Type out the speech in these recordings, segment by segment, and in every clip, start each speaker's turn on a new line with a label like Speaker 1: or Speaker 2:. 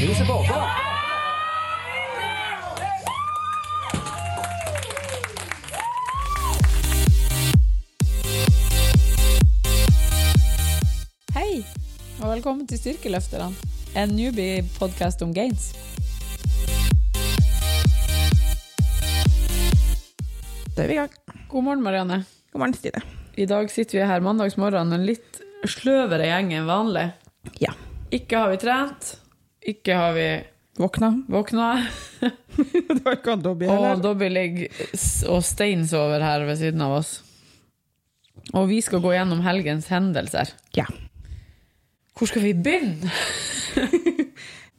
Speaker 1: Vi ser båda.
Speaker 2: Hei, og velkommen til Styrkeløfterne, en newbie-podkast om gains.
Speaker 3: Da er vi i gang.
Speaker 2: God morgen, Marianne.
Speaker 3: God morgen, Stine.
Speaker 2: I dag sitter vi her mandagsmorgen, en litt sløvere gjeng enn vanlig.
Speaker 3: Ja.
Speaker 2: Ikke har vi trent, ikke har vi
Speaker 3: Våkna.
Speaker 2: våkna,
Speaker 3: det var ikke han Dobby
Speaker 2: og
Speaker 3: heller.
Speaker 2: Dobby ligger s- og steinsover her ved siden av oss. Og vi skal gå gjennom helgens hendelser.
Speaker 3: Ja.
Speaker 2: Hvor skal vi begynne?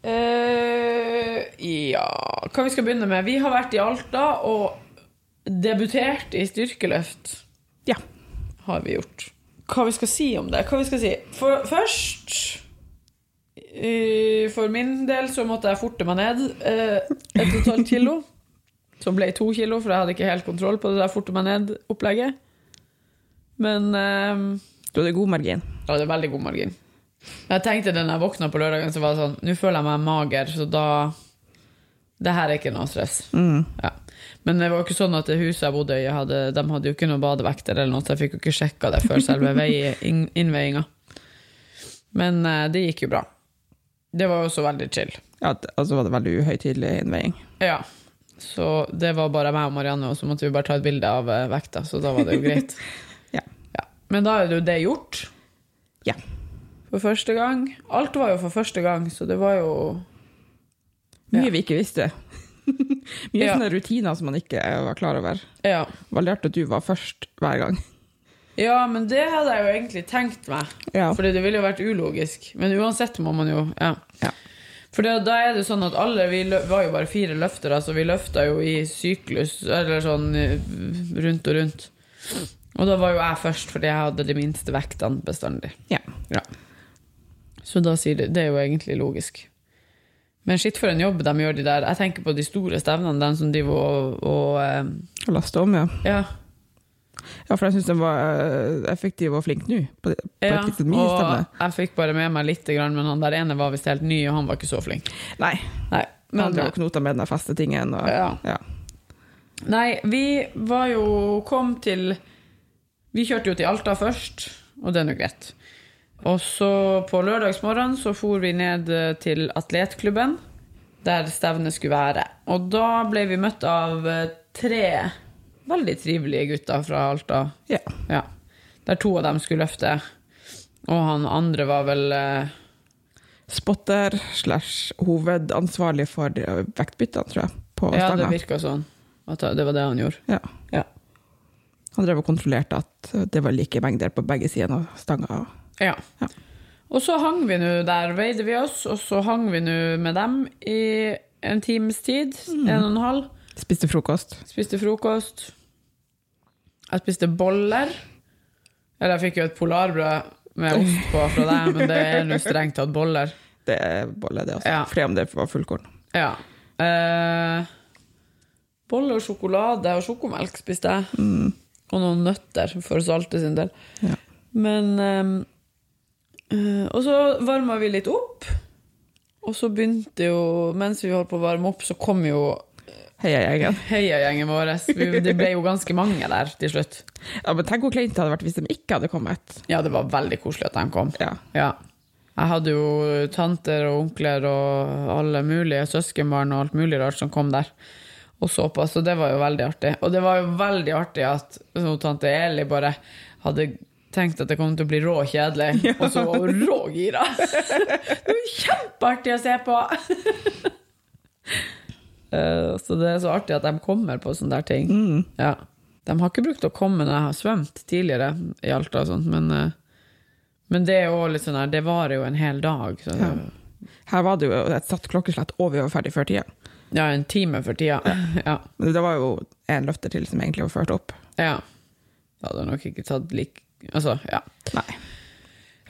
Speaker 2: Eh, ja Hva vi skal begynne med? Vi har vært i Alta og debutert i styrkeløft.
Speaker 3: Ja.
Speaker 2: Har vi gjort. Hva vi skal si om det? Hva vi skal si? For, først eh, For min del så måtte jeg forte meg ned eh, et og et halvt kilo. Som ble to kilo, for jeg hadde ikke helt kontroll på det der forte meg ned-opplegget. Men eh,
Speaker 3: Du hadde god margin.
Speaker 2: ja, det er veldig god margin. Jeg tenkte da jeg våkna på lørdagen, så var det sånn Nå føler jeg meg mager, så da Det her er ikke noe stress. Ja. Men det var jo ikke sånn at det huset jeg bodde i, hadde, de hadde jo ikke noen badevekter eller noe, så jeg fikk jo ikke sjekka det før selve vei- inn- innveiinga. Men eh, det gikk jo bra. Det var jo også veldig chill.
Speaker 3: Ja, det- altså var det veldig uhøytidelig innveiing.
Speaker 2: Ja. Så det var bare meg og Marianne, og så måtte vi bare ta et bilde av eh, vekta, så da var det jo greit.
Speaker 3: Ja.
Speaker 2: ja. Men da er det jo det gjort.
Speaker 3: Ja.
Speaker 2: For første gang. Alt var jo for første gang, så det var jo
Speaker 3: Mye vi ikke visste. Mye
Speaker 2: Ja.
Speaker 3: sånne rutiner som man ikke var klar over.
Speaker 2: Ja.
Speaker 3: Veldig artig at du var først hver gang.
Speaker 2: ja, men det hadde jeg jo egentlig tenkt meg.
Speaker 3: Ja.
Speaker 2: Fordi det ville jo vært ulogisk. Men uansett må man jo Ja.
Speaker 3: Ja.
Speaker 2: For da, da er det sånn at alle Vi lø- var jo bare fire løftere, så vi løfta jo i syklus, eller sånn eh, rundt og rundt. Og da var jo jeg først, fordi jeg hadde de minste vektene bestandig.
Speaker 3: Ja.
Speaker 2: Så da sier det, det er jo egentlig logisk. Men skitt for en jobb de gjør de der. Jeg tenker på de store stevnene, de som driver og, og eh,
Speaker 3: Og laste om, ja.
Speaker 2: Ja.
Speaker 3: Ja, for jeg syns den var eh, effektiv og flink nå. På, på
Speaker 2: Ja,
Speaker 3: et litt min stemme.
Speaker 2: og jeg fikk bare med meg litt, grann, men han der ene var visst helt ny, og han var ikke så flink.
Speaker 3: Nei.
Speaker 2: Nei,
Speaker 3: Men, han
Speaker 2: men,
Speaker 3: drev og knota med den der feste tingen. Og,
Speaker 2: Ja. nei vi var jo kom til Vi kjørte jo til Alta først, og det er nå greit. Og så på lørdagsmorgenen så for vi ned eh, til atletklubben, der stevnet skulle være. Og da ble vi møtt av eh, tre veldig trivelige gutter fra Alta.
Speaker 3: Ja.
Speaker 2: Ja. Der to av dem skulle løfte, og han andre var vel eh,
Speaker 3: Spotter slash hovedansvarlig for eh, vektbyttene, tror jeg, på
Speaker 2: Ja, det
Speaker 3: stanga.
Speaker 2: virka sånn. At det var det han gjorde.
Speaker 3: Ja.
Speaker 2: Ja.
Speaker 3: Han drev og kontrollerte at det var like mengder på begge sider av stanga.
Speaker 2: ja.
Speaker 3: Ja.
Speaker 2: Og så hang vi nå der, veide vi oss, og så hang vi nå med dem i en times tid. En og en halv.
Speaker 3: Spiste frokost.
Speaker 2: Spiste frokost. Jeg spiste boller. Eller jeg fikk jo et polarbrød med ost på fra deg, men det er nå strengt tatt boller.
Speaker 3: Det er bolle, det også.
Speaker 2: Ja.
Speaker 3: Fordi om det var fullkorn.
Speaker 2: Ja. Eh, boller og sjokolade og sjokomelk spiste jeg. Og noen nøtter for salte sin del.
Speaker 3: Ja.
Speaker 2: Men ehm, eh, Og så varma vi litt opp. Og så begynte jo Mens vi holdt på å varme opp, så kom jo
Speaker 3: Heia gjengen.
Speaker 2: heiagjengen vår. Vi- Det ble jo ganske mange der til slutt.
Speaker 3: Ja, men tenk hvor kleint det hadde vært hvis de ikke hadde kommet.
Speaker 2: Ja, det var veldig koselig at de kom.
Speaker 3: Ja.
Speaker 2: Ja. Jeg hadde jo tanter og onkler og alle mulige søskenbarn og alt mulig rart som kom der og så på, så det var jo veldig artig. Og det var jo veldig artig at så, tante Eli bare hadde tenkt at det kom til å bli rå kjedelig, og så var hun rå gira. Det var jo kjempeartig å se på! Eh, Så det er så artig at de kommer på sånne der ting. Ja. De har ikke brukt å komme når jeg har svømt tidligere i Alta og sånt, men eh, men det er jo litt sånn her, det varer jo en hel dag. Så, ja.
Speaker 3: Her var det jo et satt klokkeslett, og vi var ferdig før tida.
Speaker 2: en time for tida. Ja.
Speaker 3: Men det var jo en løfter til som egentlig var ført opp.
Speaker 2: ja. Da hadde jeg nok ikke tatt lik... Altså, ja.
Speaker 3: Nei.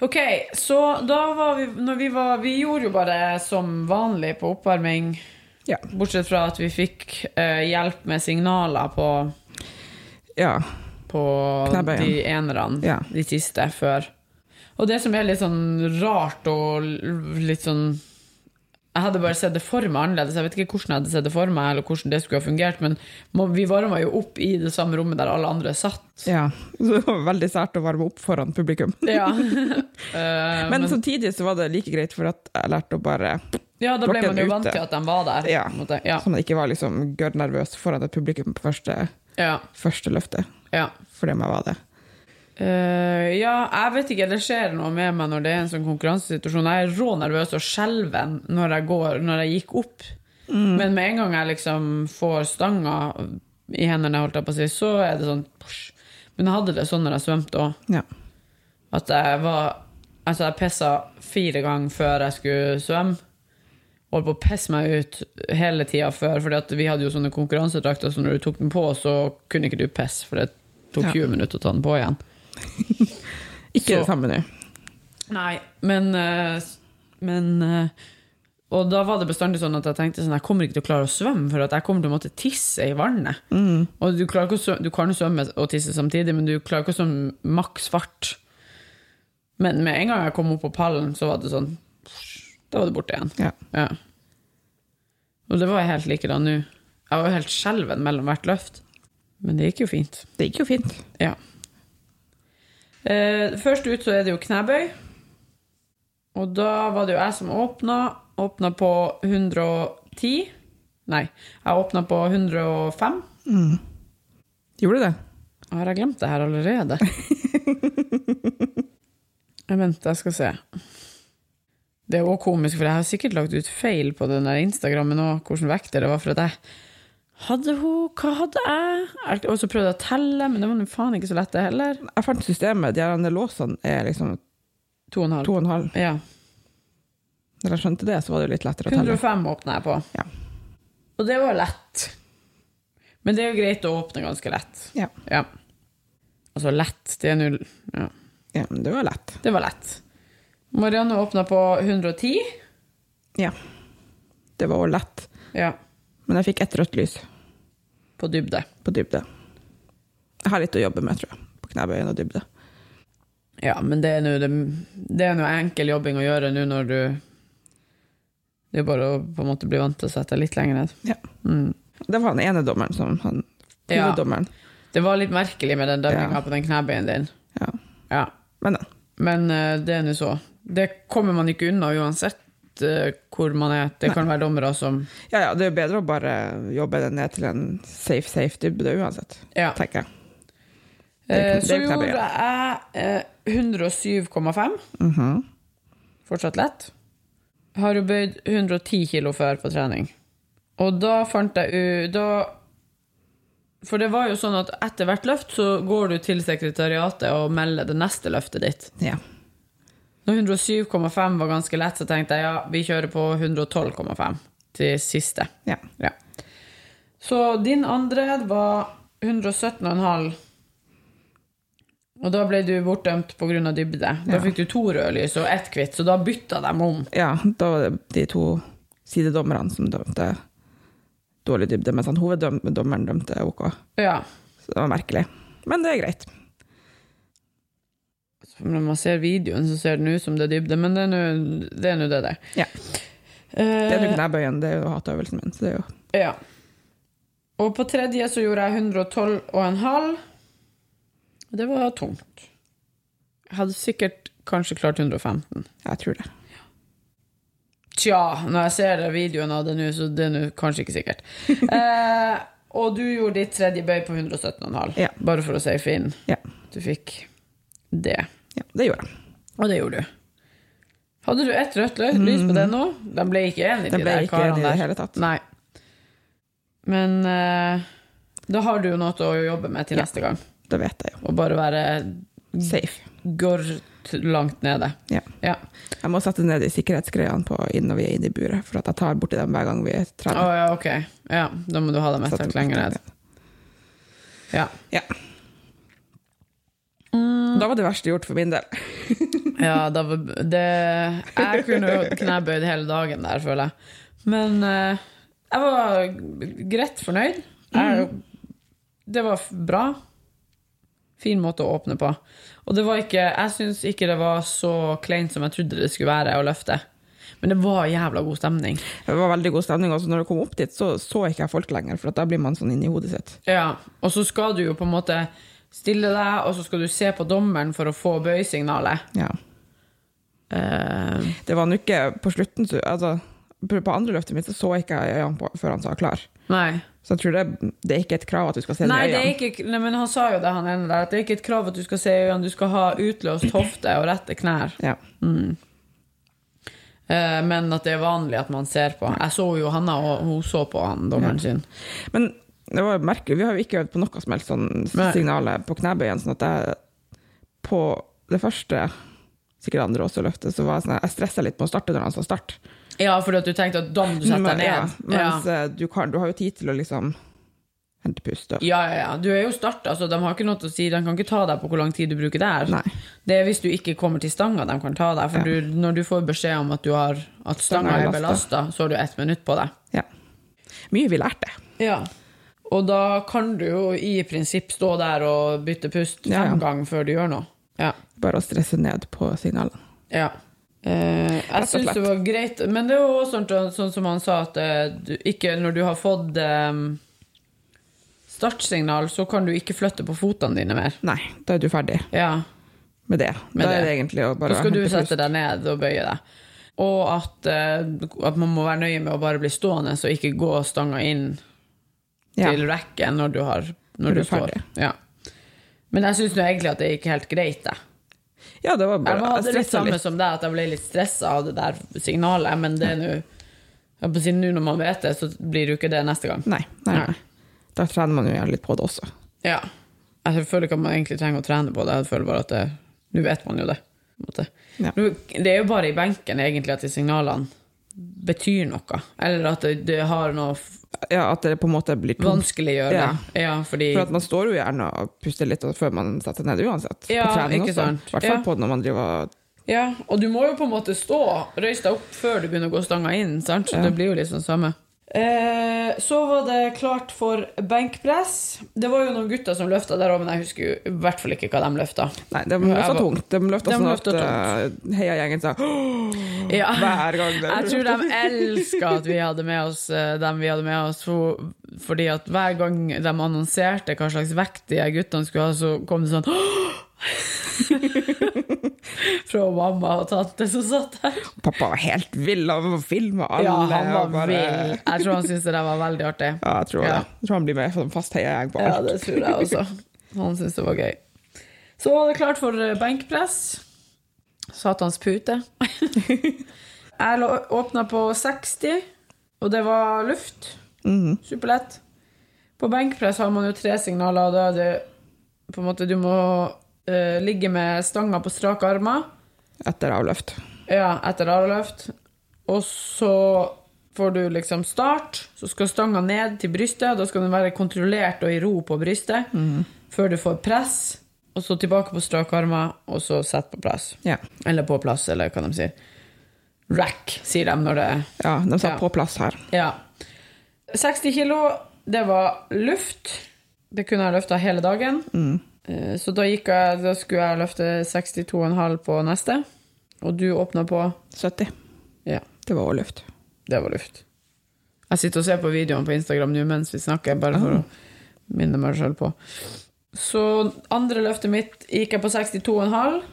Speaker 2: Ok, så da var vi... Når vi var... Vi gjorde jo bare som vanlig på oppvarming,
Speaker 3: Ja.
Speaker 2: bortsett fra at vi fikk eh, hjelp med signaler på,
Speaker 3: Ja.
Speaker 2: på
Speaker 3: Knebøyen.
Speaker 2: de enerne,
Speaker 3: Ja.
Speaker 2: de siste, før. Og det som er litt sånn rart og l- litt sånn Jeg hadde bare sett det for meg annerledes. Jeg vet ikke hvordan jeg hadde sett det for meg, eller hvordan det skulle ha fungert, men må- vi varma jo opp i det samme rommet der alle andre satt.
Speaker 3: Ja. Så det var veldig sært å varme opp foran publikum.
Speaker 2: Ja. Eh,
Speaker 3: Men samtidig så var det like greit, for at jeg lærte å bare
Speaker 2: ja, da ble
Speaker 3: blokken
Speaker 2: man jo vant
Speaker 3: ute.
Speaker 2: til at de var der.
Speaker 3: Ja.
Speaker 2: på en måte. ja.
Speaker 3: Så man ikke var liksom gørrnervøs foran et publikum på første,
Speaker 2: ja,
Speaker 3: første løftet.
Speaker 2: ja.
Speaker 3: Fordi om jeg var det.
Speaker 2: Eh, ja, jeg vet ikke, det skjer noe med meg når det er en sånn konkurransesituasjon. Jeg er rå nervøs og skjelven når jeg går, når jeg gikk opp. Men med en gang jeg liksom får stanga i hendene, holdt jeg på å si, så er det sånn psj. Men jeg hadde det sånn når jeg svømte òg.
Speaker 3: Ja.
Speaker 2: At jeg var Altså, jeg pissa fire ganger før jeg skulle svømme. Holdt på å pisse meg ut hele tida før, Fordi at vi hadde jo sånne konkurransedrakter, så når du tok den på, så kunne ikke du pisse, for det tok
Speaker 3: Ja.
Speaker 2: 20 minutter å ta den på igjen.
Speaker 3: Ikke
Speaker 2: Så-
Speaker 3: det samme nå.
Speaker 2: Nei, men, eh, men eh, Og da var det bestandig sånn at jeg tenkte sånn, jeg kommer ikke til å klare å svømme, for at jeg kommer til å måtte tisse i vannet. Og du, klarer ikke å svømme, du kan jo svømme og tisse samtidig, men du klarer ikke å svømme maks fart. Men med en gang jeg kom opp på pallen, så var det sånn Da var det borte igjen.
Speaker 3: Ja.
Speaker 2: Ja. Og det var jeg helt likedan nå. Jeg var jo helt skjelven mellom hvert løft. Men det gikk jo fint.
Speaker 3: Det gikk jo fint.
Speaker 2: Ja. Eh, først ut så er det jo knebøy. Og da var det jo jeg som åpna. Åpna på 110. Nei, jeg åpna på 105.
Speaker 3: Gjorde det?
Speaker 2: Har jeg glemt det her allerede? jeg venter, jeg skal se. Det er òg komisk, for jeg har sikkert lagt ut feil på den der Instagrammen òg, hvilken vekt det var. For at jeg hadde hun Hva hadde jeg? Jeg- Og så prøvde jeg å telle, men det var nå faen ikke så lett, det heller.
Speaker 3: Jeg fant systemet. De her låsene er liksom
Speaker 2: To og en halv.
Speaker 3: to og en halv.
Speaker 2: Ja.
Speaker 3: Når jeg skjønte det, så var det jo litt lettere å telle.
Speaker 2: 105 åpna jeg på.
Speaker 3: Ja.
Speaker 2: Og det var lett. Men det er jo greit å åpne ganske lett.
Speaker 3: Ja.
Speaker 2: Ja. Altså lett, det er null ja.
Speaker 3: ja, men det var lett.
Speaker 2: Det var lett. Marianne åpna på 110.
Speaker 3: Ja. Det var også lett.
Speaker 2: Ja.
Speaker 3: Men jeg fikk ett rødt lys
Speaker 2: På dybde.
Speaker 3: på dybde. Jeg har litt å jobbe med, tror jeg. På knebøyen og dybde.
Speaker 2: Ja, men det er nå det- det er nå enkel jobbing å gjøre nå når du Det er jo bare å på en måte bli vant til å sette deg litt lenger ned.
Speaker 3: Ja.
Speaker 2: Mm.
Speaker 3: Det var den ene dommeren som han
Speaker 2: Ja.
Speaker 3: Hoveddommeren.
Speaker 2: Det var litt merkelig med den dømminga
Speaker 3: Ja.
Speaker 2: på den knebøyen din.
Speaker 3: Ja.
Speaker 2: Ja.
Speaker 3: Men ja.
Speaker 2: Men eh, det er nå så. Det kommer man ikke unna uansett eh, hvor man er. Det kan være dommere som
Speaker 3: Ja, ja, det er jo bedre å bare jobbe det ned til en safe, safe dybde uansett,
Speaker 2: Ja.
Speaker 3: tenker jeg. Det er
Speaker 2: Eh,
Speaker 3: kn- det
Speaker 2: Så
Speaker 3: er knebøy,
Speaker 2: gjorde jeg eh, 107,5.
Speaker 3: Mhm.
Speaker 2: Fortsatt lett. Har jo bøyd 110 kilo før på trening. Og da fant jeg ut da For det var jo sånn at etter hvert løft så går du til sekretariatet og melder det neste løftet ditt.
Speaker 3: ja.
Speaker 2: Når 107,5 var ganske lett, så tenkte jeg ja, vi kjører på 112,5 til siste.
Speaker 3: ja.
Speaker 2: Ja. Så din andre var 117,5. Og da ble du bortdømt pga. dybde. Da
Speaker 3: Ja.
Speaker 2: fikk du to røde lys og ett hvitt, så da bytta de om.
Speaker 3: Ja, da var det de to sidedommerne som dømte dårlig dybde, mens han hoveddommeren dømte OK.
Speaker 2: Ja.
Speaker 3: Så det var merkelig. Men det er greit.
Speaker 2: Så Når man ser videoen, så ser den ut som det er dybde, men det er nå det er nå det. det.
Speaker 3: Ja. Det er jo
Speaker 2: Eh,
Speaker 3: knebøyen, det er jo hatøvelsen min, så det er jo
Speaker 2: ja. Og på tredje så gjorde jeg 112,5. Og det var tungt. Jeg hadde sikkert kanskje klart 115.
Speaker 3: Jeg tror det.
Speaker 2: Tja, når jeg ser det videoen av det nå, så det er nå kanskje ikke sikkert. Eh, og du gjorde ditt tredje bøy på 117,5,
Speaker 3: Ja.
Speaker 2: bare for å safe inn.
Speaker 3: Ja.
Speaker 2: Du fikk det.
Speaker 3: ja det gjorde jeg.
Speaker 2: Og det gjorde du. Hadde du ett rødt lø- lys på den nå? De ble ikke enige,
Speaker 3: Mm. Den ble
Speaker 2: der
Speaker 3: ikke enig i det
Speaker 2: der.
Speaker 3: hele tatt.
Speaker 2: Nei. Men eh, da har du jo noe å jobbe med til
Speaker 3: Ja.
Speaker 2: neste gang.
Speaker 3: Det vet jeg jo.
Speaker 2: Og bare være Mm.
Speaker 3: Safe.
Speaker 2: går t- langt nede.
Speaker 3: Ja.
Speaker 2: Ja.
Speaker 3: Jeg må sette ned de sikkerhetsgreiene på inn når vi er inne i buret, for at jeg tar borti dem hver gang vi
Speaker 2: Å
Speaker 3: trener.
Speaker 2: ja, ok. Ja, da må du ha dem
Speaker 3: Så
Speaker 2: ett
Speaker 3: at-
Speaker 2: hakk lenger ned. Ja.
Speaker 3: Ja.
Speaker 2: Mm.
Speaker 3: Da var det verste gjort for min del.
Speaker 2: Ja, da var det Jeg kunne jo knebøyd hele dagen der, føler jeg. Men eh, jeg var greit fornøyd. Jeg, det var bra. Fin måte å åpne på. Og det var ikke Jeg syns ikke det var så kleint som jeg trodde det skulle være å løfte. Men det var jævla god stemning.
Speaker 3: Det var veldig god stemning. Også når jeg kom opp dit, så så ikke jeg folk lenger, for at da blir man sånn inni hodet sitt.
Speaker 2: Ja, og så skal du jo på en måte stille deg, og så skal du se på dommeren for å få bøysignalet.
Speaker 3: Ja.
Speaker 2: Eh,
Speaker 3: Det var nå ikke på slutten så, altså, På på andre løftet mitt så, så jeg ikke jeg øynene på før han sa klar.
Speaker 2: nei.
Speaker 3: Så jeg tror det, det er ikke et krav at du skal se det
Speaker 2: Nei,
Speaker 3: i
Speaker 2: det er
Speaker 3: øynene.
Speaker 2: ikke, nei, men han sa jo det, han ene der, at det er ikke et krav at du skal se i øynene. Du skal ha utløst hofte og rette knær.
Speaker 3: Ja.
Speaker 2: Eh, men at det er vanlig at man ser på. Jeg så jo Hanna, og hun så på han, dommeren sin.
Speaker 3: Men det var merkelig. Vi har jo ikke øvd på noe som helst sånn
Speaker 2: Nei.
Speaker 3: signalet på knebøyen. Sånn at jeg på det første, sikkert andre også løftet, så var jeg sånn Jeg stressa litt med å starte når han sa start.
Speaker 2: Ja, fordi at du tenkte at da må du sette deg
Speaker 3: Men- ja,
Speaker 2: ned. Ja.
Speaker 3: mens eh, du, kan, du har jo tid til å liksom hente pust og
Speaker 2: Ja, ja, ja. Du er jo starta, så de har ikke noe til å si. De kan ikke ta deg på hvor lang tid du bruker der.
Speaker 3: Nei.
Speaker 2: Det er hvis du ikke kommer til stanga de kan ta deg. For
Speaker 3: Ja.
Speaker 2: du, når du får beskjed om at, du har, at stanga
Speaker 3: Stanga er
Speaker 2: er belasta, så har du ett minutt på deg.
Speaker 3: Ja. Mye vi lærte.
Speaker 2: Ja. Og da kan du jo i prinsipp stå der og bytte pust fem
Speaker 3: Ja, ja.
Speaker 2: ganger før du gjør noe. Ja.
Speaker 3: Bare å stresse ned på signalene.
Speaker 2: ja. Eh, jeg
Speaker 3: og
Speaker 2: syns det
Speaker 3: slett.
Speaker 2: var greit, men det er jo også sånn, sånn som han sa, at eh, du, ikke når du har fått eh, startsignal, så kan du ikke flytte på føttene dine mer.
Speaker 3: Nei, da er du ferdig
Speaker 2: Ja.
Speaker 3: med det.
Speaker 2: Med
Speaker 3: da er
Speaker 2: det.
Speaker 3: det egentlig å bare
Speaker 2: Da skal du
Speaker 3: hente
Speaker 2: sette deg ned og bøye deg. Og at, eh, at man må være nøye med å bare bli stående og ikke gå stanga inn
Speaker 3: Ja.
Speaker 2: til rekken når du, har, når
Speaker 3: du
Speaker 2: du,
Speaker 3: er
Speaker 2: står.
Speaker 3: ferdig.
Speaker 2: Ja. Men jeg syns egentlig at det gikk helt greit. Jeg,
Speaker 3: Ja, det var
Speaker 2: jeg
Speaker 3: bare
Speaker 2: hadde litt
Speaker 3: stressa
Speaker 2: samme som deg, at jeg ble litt stressa av det der signalet, men det er nå jeg holdt på å si, Nå når man vet det, så blir det jo ikke det neste gang.
Speaker 3: Nei, nei,
Speaker 2: Nei.
Speaker 3: nei. Da trener man jo gjerne litt på det også.
Speaker 2: Ja. Jeg føler ikke at man egentlig trenger å trene på det. Jeg føler bare at det, Nå vet man jo det. På en måte.
Speaker 3: Ja.
Speaker 2: Nå, det er jo bare i benken egentlig at de signalene betyr noe. Eller at det, det har noe f-
Speaker 3: Ja, At det på en måte blir tungt.
Speaker 2: vanskeliggjørende.
Speaker 3: Ja.
Speaker 2: Ja. fordi
Speaker 3: For at man står jo gjerne og puster litt og- før man setter ned uansett.
Speaker 2: Ja,
Speaker 3: på trening
Speaker 2: ikke
Speaker 3: også.
Speaker 2: sant.
Speaker 3: I hvert fall
Speaker 2: Ja.
Speaker 3: på når man driver
Speaker 2: Ja, og du må jo på en måte stå, røyse deg opp før du begynner å gå stanga inn, sant? Så det blir jo liksom samme. Eh, så var det klart for benkpress. Det var jo noen gutter som løfta der òg, men jeg husker jo i hvert fall ikke hva de løfta.
Speaker 3: Nei, de
Speaker 2: Jeg
Speaker 3: løfta
Speaker 2: var-
Speaker 3: tungt. De løfta
Speaker 2: De
Speaker 3: sånn at
Speaker 2: løfta
Speaker 3: eh, heiagjengen sa
Speaker 2: Ja.
Speaker 3: hver gang det
Speaker 2: Jeg tror de elska at vi hadde med oss eh, dem vi hadde med oss, for, fordi at hver gang de annonserte hva slags vekt de her guttene skulle ha, så kom det sånn Fra mamma og tante som satt der.
Speaker 3: Pappa var helt vill av å filme alle.
Speaker 2: Ja, han var
Speaker 3: og bare-
Speaker 2: vill. Jeg tror han syntes det der var veldig artig.
Speaker 3: Ja, jeg tror,
Speaker 2: Ja.
Speaker 3: Det. jeg tror han blir med som fast heiagjeng på
Speaker 2: Ja,
Speaker 3: alt.
Speaker 2: det tror jeg også. Han syntes det var gøy. Så var det klart for eh, benkpress. Satans pute. Jeg lå- åpna på 60, og det var luft. Mhm. Superlett. På benkpress har man jo tre signaler, og da er det på en måte Du må eh, ligge med stanga på strake armer.
Speaker 3: Etter avløft.
Speaker 2: Ja, etter arreløft. Og så får du liksom start, så skal stanga ned til brystet. Da skal den være kontrollert og i ro på brystet før du får press. Og så tilbake på strake armer, og så sett på plass.
Speaker 3: Ja.
Speaker 2: Eller på plass, eller hva de sier. Rack, sier de når det
Speaker 3: ja, de sa
Speaker 2: Ja.
Speaker 3: på plass her.
Speaker 2: Ja. 60 kilo, det var luft. Det kunne jeg løfta hele dagen. Eh, Så da, gikk jeg, da skulle jeg løfte 62,5 på neste, og du åpna på
Speaker 3: 70.
Speaker 2: Ja,
Speaker 3: Det var overluft.
Speaker 2: det var luft. Jeg sitter og ser på videoen på Instagram nå mens vi snakker, bare for å minne meg sjøl på. Så andre løftet mitt gikk jeg på 62,5.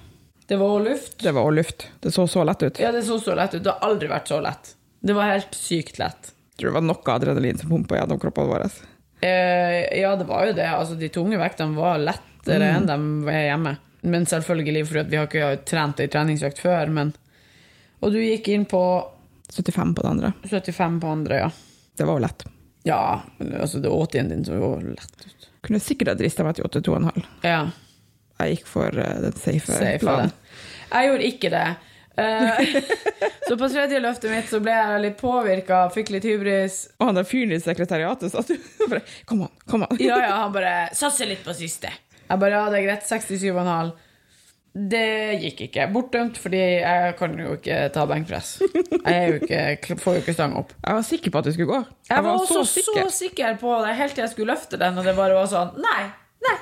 Speaker 2: Det var også luft.
Speaker 3: Det var overluft. Det så så lett ut.
Speaker 2: Ja, det så så lett ut. Det har aldri vært så lett. Det var helt sykt lett.
Speaker 3: Jeg tror det var noe adrenalin som pumpa gjennom kroppen vår.
Speaker 2: Eh, ja, det var jo det. Altså, de tunge vektene var lettere enn de er hjemme. Men selvfølgelig, for vi har ikke trent ei treningsøkt før. Men... Og du gikk inn på
Speaker 3: 75 på det andre.
Speaker 2: 75 på andre, ja.
Speaker 3: Det var jo lett.
Speaker 2: Ja, altså det er 80-en din som går lett ut.
Speaker 3: Kunne sikkert ha drista meg til 82,5.
Speaker 2: Ja,
Speaker 3: Jeg gikk for eh, den safe,
Speaker 2: safe for det.
Speaker 3: planen.
Speaker 2: Jeg gjorde ikke det. Eh, så på tredje løftet mitt så ble jeg litt påvirka, fikk litt hybris.
Speaker 3: Og han der fyren i sekretariatet satt jo bare Kom an, kom an.
Speaker 2: Ja, ja, han bare satser litt på siste. Jeg bare ja, det er greit. 67,5. Det gikk ikke. Bortdømt, fordi jeg kan jo ikke ta benkpress. Jeg er jo ikke, får jo ikke stang opp.
Speaker 3: Jeg var sikker på at det skulle gå. Jeg,
Speaker 2: Jeg var også så sikker. på det helt til jeg skulle løfte den, og det bare var sånn Nei! Nei!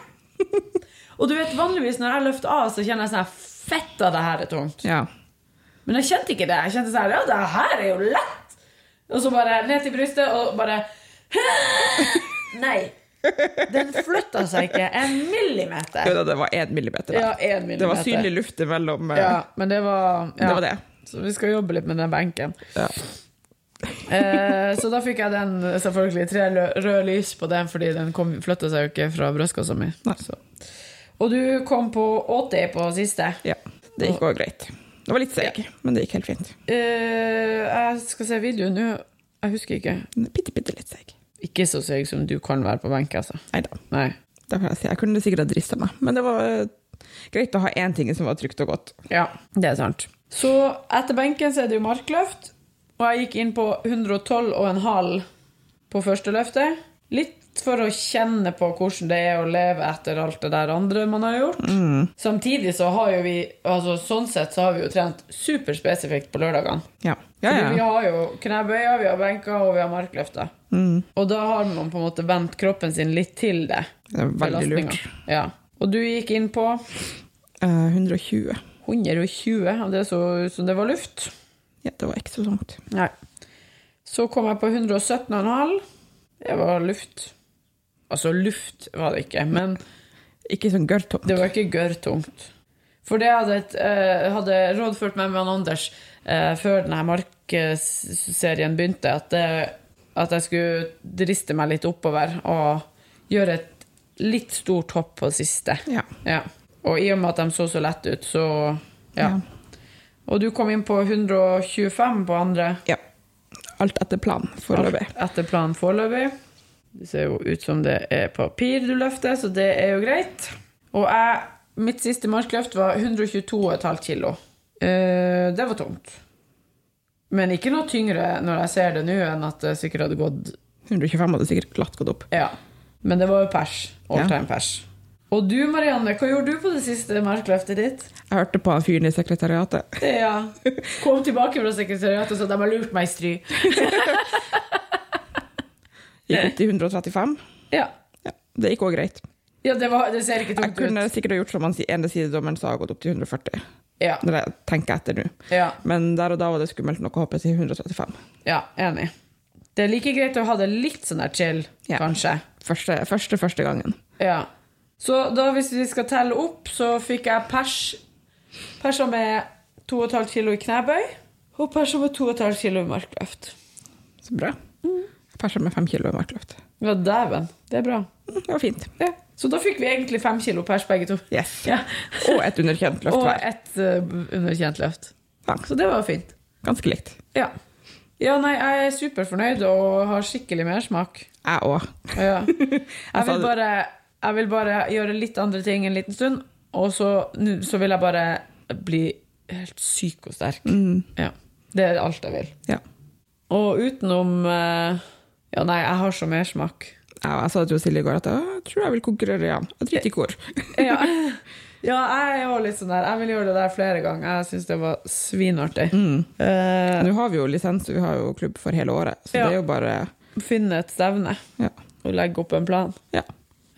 Speaker 2: og du vet, vanligvis når jeg løfter av, så kjenner jeg sånn her, Fett av det her er tungt.
Speaker 3: Ja.
Speaker 2: Men jeg kjente ikke det. Jeg kjente sånn Ja, det her er jo lett! Og så bare ned til brystet og bare Nei. Den flytta seg ikke en millimeter.
Speaker 3: Jo da, det var én millimeter. der.
Speaker 2: Ja, en millimeter.
Speaker 3: det var synlig luft imellom. eh,
Speaker 2: Ja, men det var, ja.
Speaker 3: Det var det.
Speaker 2: Så vi skal jobbe litt med den benken.
Speaker 3: Ja.
Speaker 2: Eh, så da fikk jeg den selvfølgelig tre lø- røde lys på den, fordi den kom, flytta seg jo ikke fra brystkassa mi. Så. Og du kom på 80 på siste.
Speaker 3: ja. Det gikk òg greit. Det var litt seig, men det gikk helt fint.
Speaker 2: Eh, jeg skal se videoen nå. Jeg husker ikke.
Speaker 3: Bitte, bitte litt seig.
Speaker 2: Ikke så seig som du kan være på benk, altså.
Speaker 3: Nei da.
Speaker 2: Nei.
Speaker 3: Det får jeg si. Jeg kunne sikkert ha drissa meg, men det var eh, greit å ha én ting som var trygt og godt.
Speaker 2: Ja, det er sant. Så etter benken så er det jo markløft, og jeg gikk inn på 112,5 på første løftet. Litt for å kjenne på hvordan det er å leve etter alt det der andre man har gjort.
Speaker 3: Mm.
Speaker 2: Samtidig så har jo vi altså Sånn sett så har vi jo trent superspesifikt på lørdagene.
Speaker 3: Ja, ja.
Speaker 2: Fordi Vi
Speaker 3: ja.
Speaker 2: har jo knebøyer, vi har benker og vi har markløfter.
Speaker 3: Mm.
Speaker 2: Og da har man på en måte vendt kroppen sin litt til det.
Speaker 3: Det er veldig
Speaker 2: belastningen.
Speaker 3: lurt.
Speaker 2: Ja. Og du gikk inn på
Speaker 3: Eh, 120.
Speaker 2: 120, og det så ut som det var luft.
Speaker 3: Ja, det var ikke så langt.
Speaker 2: Nei. Så kom jeg på 117,5. Det var luft. Altså, luft var det ikke, men
Speaker 3: Ikke sånn gørrtomt.
Speaker 2: det var ikke gørrtungt. For det hadde, et, eh, hadde rådført meg med han Anders eh, før denne markedsserien begynte, at, det, at jeg skulle driste meg litt oppover og gjøre et litt stort hopp på siste.
Speaker 3: Ja.
Speaker 2: Ja. Og i og med at de så så lette ut, så ja.
Speaker 3: Ja.
Speaker 2: Og du kom inn på 125 på andre.
Speaker 3: ja. Alt etter planen foreløpig.
Speaker 2: Alt Etter planen foreløpig. Det ser jo ut som det er papir du løfter, så det er jo greit. Og jeg, mitt siste markløft var 122,5 kilo. Eh, det var tungt. Men ikke noe tyngre når jeg ser det nå, enn at det sikkert hadde gått
Speaker 3: 125 hadde sikkert glatt gått opp.
Speaker 2: Ja. Men det var jo pers. All
Speaker 3: Ja.
Speaker 2: time pers. Og du, Marianne, hva gjorde du på det siste markløftet ditt?
Speaker 3: Jeg hørte på han fyren i sekretariatet.
Speaker 2: Ja. Kom tilbake fra sekretariatet, så de har lurt meg i stry.
Speaker 3: Gikk opp til 135.
Speaker 2: Ja.
Speaker 3: Ja, det gikk òg greit.
Speaker 2: ja det, var, det ser ikke
Speaker 3: Jeg
Speaker 2: tungt
Speaker 3: kunne
Speaker 2: ut.
Speaker 3: sikkert ha gjort som han si- ene sidedommeren sa, gått opp til 140.
Speaker 2: Ja.
Speaker 3: Når jeg tenker etter nå.
Speaker 2: ja.
Speaker 3: Men der og da var det skummelt nok å hoppe til 135.
Speaker 2: Ja, enig. Det er like greit å ha det litt sånn der chill,
Speaker 3: Ja.
Speaker 2: kanskje.
Speaker 3: Første, første, første gangen.
Speaker 2: Ja. Så da hvis vi skal telle opp, så fikk jeg pers Persa med 2,5 kilo i knebøy, og persa med 2,5 kilo i markløft.
Speaker 3: Så bra. Jeg persa med fem kilo i markløft.
Speaker 2: Ja, dæven. Det er bra.
Speaker 3: Mm, Det var fint.
Speaker 2: Ja. Så da fikk vi egentlig fem kilo pers, begge to.
Speaker 3: Yes.
Speaker 2: Ja.
Speaker 3: Og et underkjent løft
Speaker 2: Og
Speaker 3: hver.
Speaker 2: ett eh, underkjent løft.
Speaker 3: Ja,
Speaker 2: Så det var fint.
Speaker 3: ganske likt.
Speaker 2: Ja. Ja, nei, jeg er superfornøyd og har skikkelig mersmak.
Speaker 3: Jeg òg.
Speaker 2: Ja. Jeg
Speaker 3: sa
Speaker 2: vil
Speaker 3: det.
Speaker 2: bare, jeg vil bare gjøre litt andre ting en liten stund, og så, nå- så vil jeg bare bli helt syk og sterk. Ja. Det er alt jeg vil.
Speaker 3: Ja.
Speaker 2: Og utenom eh, Ja, nei, jeg har så mersmak.
Speaker 3: Jeg, jeg sa det til Silje i går at jeg «Å, tror jeg vil konkurrere igjen. Jeg driter i hvor.
Speaker 2: Ja. ja, jeg er jo litt sånn der. Jeg vil gjøre det der flere ganger. Jeg syns det var svinartig. Eh,
Speaker 3: Nå har vi jo lisens, og vi har jo klubb for hele året, så
Speaker 2: Ja.
Speaker 3: det er jo bare
Speaker 2: finne et stevne
Speaker 3: ja.
Speaker 2: og legge opp en plan.
Speaker 3: ja.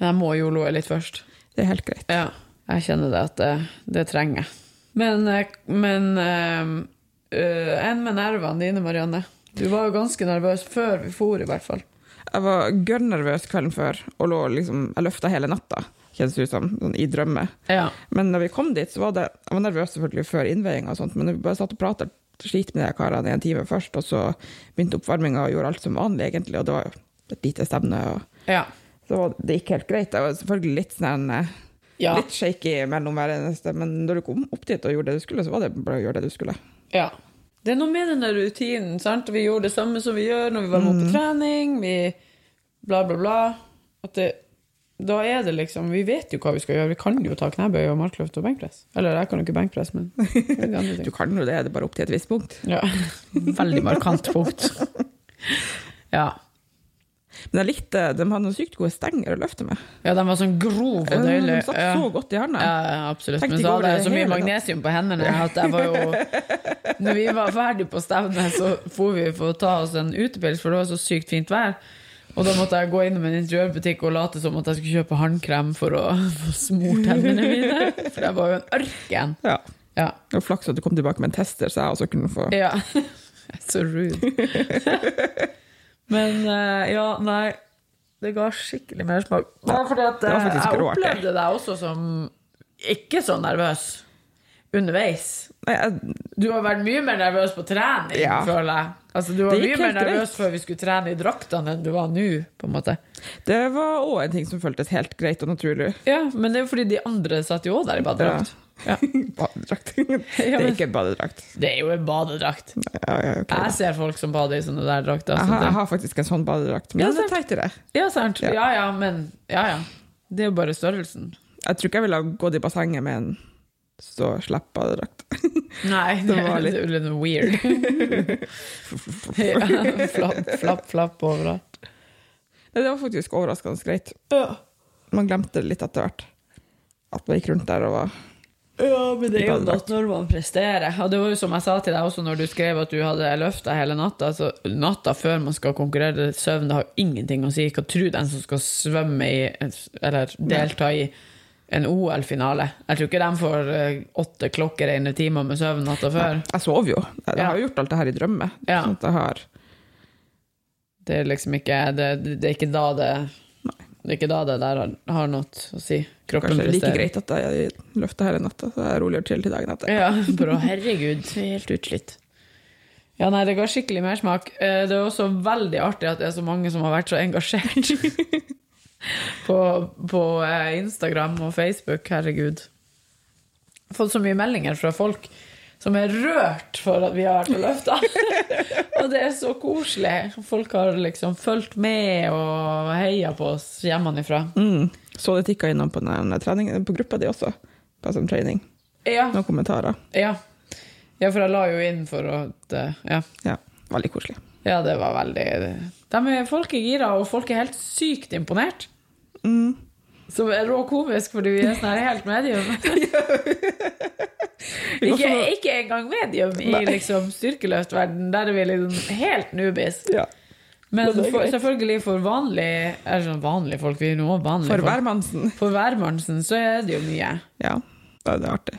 Speaker 2: Men jeg må jo loe litt først.
Speaker 3: Det er helt greit.
Speaker 2: Ja, jeg kjenner det at det, det trenger jeg. Men, eh, men eh, øh, enn med nervene dine, Marianne. Du var jo ganske nervøs før vi for, i hvert fall.
Speaker 3: Jeg var gørrnervøs kvelden før, og lå liksom, jeg løfta hele natta, kjennes det ut som, sånn, i drømme.
Speaker 2: Ja.
Speaker 3: Men da vi kom dit, så var det Jeg var nervøs selvfølgelig før innveiinga og sånt, men vi bare satt og prata slit med de karene i en time først, og så begynte oppvarminga og gjorde alt som vanlig, egentlig, og det var jo et lite stevne, og
Speaker 2: Ja.
Speaker 3: så var det gikk helt greit. Jeg var selvfølgelig litt sånn eh,
Speaker 2: Ja.
Speaker 3: Litt shaky mellom hver eneste, men da du kom opp dit og gjorde det du skulle, så var det bare å gjøre det du skulle.
Speaker 2: ja. Det er noe med den der rutinen. sant? Vi gjorde det samme som vi gjør når vi var med på trening. Vi bla, bla, bla. At det, da er det liksom Vi vet jo hva vi skal gjøre. Vi kan jo ta knebøy og markløft og benkpress. Eller jeg kan jo ikke benkpress, men det er de andre ting.
Speaker 3: Du kan jo det, det er bare opp til et visst punkt.
Speaker 2: Ja. Veldig markant punkt. Ja.
Speaker 3: Men jeg likte, eh, de hadde noen sykt gode stenger å løfte med. Eh,
Speaker 2: Ja, de var sånn grov og
Speaker 3: De
Speaker 2: deilig.
Speaker 3: satt
Speaker 2: Ja.
Speaker 3: så godt i hånda.
Speaker 2: Ja, ja, absolutt.
Speaker 3: Tenkte
Speaker 2: Men
Speaker 3: ikke
Speaker 2: så
Speaker 3: over
Speaker 2: hadde jeg
Speaker 3: det
Speaker 2: så mye
Speaker 3: hele tatt.
Speaker 2: magnesium på hendene at jeg var jo Når vi var ferdig på stevnet, så for vi for å ta oss en utepils, for det var så sykt fint vær. Og da måtte jeg gå innom en interiørbutikk og late som at jeg skulle kjøpe håndkrem for å få smurt hendene mine. For jeg var jo en ørken.
Speaker 3: Ja.
Speaker 2: Ja.
Speaker 3: Det var flaks at du kom tilbake med en tester, så jeg også kunne få
Speaker 2: ja. Så rude. Men eh, ja, nei. Det ga skikkelig mersmak. Bare fordi at
Speaker 3: det var
Speaker 2: eh,
Speaker 3: faktisk
Speaker 2: jeg
Speaker 3: råartig.
Speaker 2: opplevde deg også som ikke så nervøs underveis.
Speaker 3: Nei, jeg,
Speaker 2: Du har vært mye mer nervøs på trening,
Speaker 3: Ja.
Speaker 2: føler jeg. Altså, du var
Speaker 3: Det gikk
Speaker 2: mye mer
Speaker 3: helt
Speaker 2: nervøs
Speaker 3: greit.
Speaker 2: før vi skulle trene i draktene enn du var nå, på en måte.
Speaker 3: Det var òg en ting som føltes helt greit og naturlig.
Speaker 2: Ja, men det er jo fordi de andre satt jo også der i badedrakt. Ja.
Speaker 3: Badedrakt. Det
Speaker 2: men-
Speaker 3: er ikke en badedrakt.
Speaker 2: Det er jo en badedrakt.
Speaker 3: Ja, ja, ok, da.
Speaker 2: Jeg ser folk som bader i sånne der drakter.
Speaker 3: Jeg
Speaker 2: så
Speaker 3: har,
Speaker 2: det-
Speaker 3: jeg har faktisk en sånn badedrakt, men
Speaker 2: Ja,
Speaker 3: den er
Speaker 2: sant.
Speaker 3: teitere.
Speaker 2: Ja, sant.
Speaker 3: Ja.
Speaker 2: Ja. ja, men Ja, ja. Det er jo bare størrelsen.
Speaker 3: Jeg tror ikke jeg ville ha gått i bassenget med en så slapp badedrakt.
Speaker 2: Nei, det
Speaker 3: Det var
Speaker 2: det er litt weird. ja, flapp, flapp, flapp overalt.
Speaker 3: Nei, Det var faktisk overraskende greit. Man glemte litt etter hvert. At man gikk rundt der og var
Speaker 2: Ja, men det er jo natt
Speaker 3: Badedrakt.
Speaker 2: når man presterer. Og det var jo som jeg sa til deg også når du skrev at du hadde løfta hele natta. Altså, natta før man skal konkurrere, søvn det har jo ingenting å si. Hva tror den som skal svømme i, eller delta i, en OL-finale? Jeg tror ikke de får eh, åtte klokkereine timer med søvn natta før.
Speaker 3: Jeg sov jo. Jeg, jeg
Speaker 2: Ja.
Speaker 3: har jo gjort alt det her i drømme.
Speaker 2: Ja.
Speaker 3: Sånn at jeg har
Speaker 2: Det er liksom ikke Det, det er ikke da det Det er ikke da det der har, har noe å si. Kroppen
Speaker 3: kanskje like
Speaker 2: presterer.
Speaker 3: greit at jeg løfta hele natta, så jeg er roligere til til dagen etter.
Speaker 2: Ja, bra. Herregud, jeg er helt utslitt. Ja, nei, det ga skikkelig mersmak. Eh, Det er også veldig artig at det er så mange som har vært så engasjert på, på eh, Instagram og Facebook. Herregud. Jeg har fått så mye meldinger fra folk som er rørt for at vi har vært og løfta. og det er så koselig. Folk har liksom fulgt med og heia på oss hjemmefra.
Speaker 3: Mm. Så det tikka innom på, den, eh, treningen, på gruppa di også, på som training.
Speaker 2: Ja,
Speaker 3: Noen kommentarer.
Speaker 2: ja. ja, for jeg la jo inn for at eh, Ja.
Speaker 3: Ja, veldig koselig.
Speaker 2: Ja, det var veldig De er, Folk er gira, og folk er helt sykt imponert.
Speaker 3: Mm.
Speaker 2: Som er råkomisk, fordi vi er sånn her helt medium. ikke, ikke engang medium i
Speaker 3: Nei.
Speaker 2: liksom styrkeløftverden. Der er vi liksom helt nubis.
Speaker 3: Ja.
Speaker 2: Men
Speaker 3: Men det er
Speaker 2: for,
Speaker 3: greit.
Speaker 2: selvfølgelig for vanlig Er det sånn vanlige folk? Vi er nå vanlige
Speaker 3: For
Speaker 2: folk.
Speaker 3: hvermannsen.
Speaker 2: For hvermannsen så er det jo mye.
Speaker 3: Ja, da er det artig.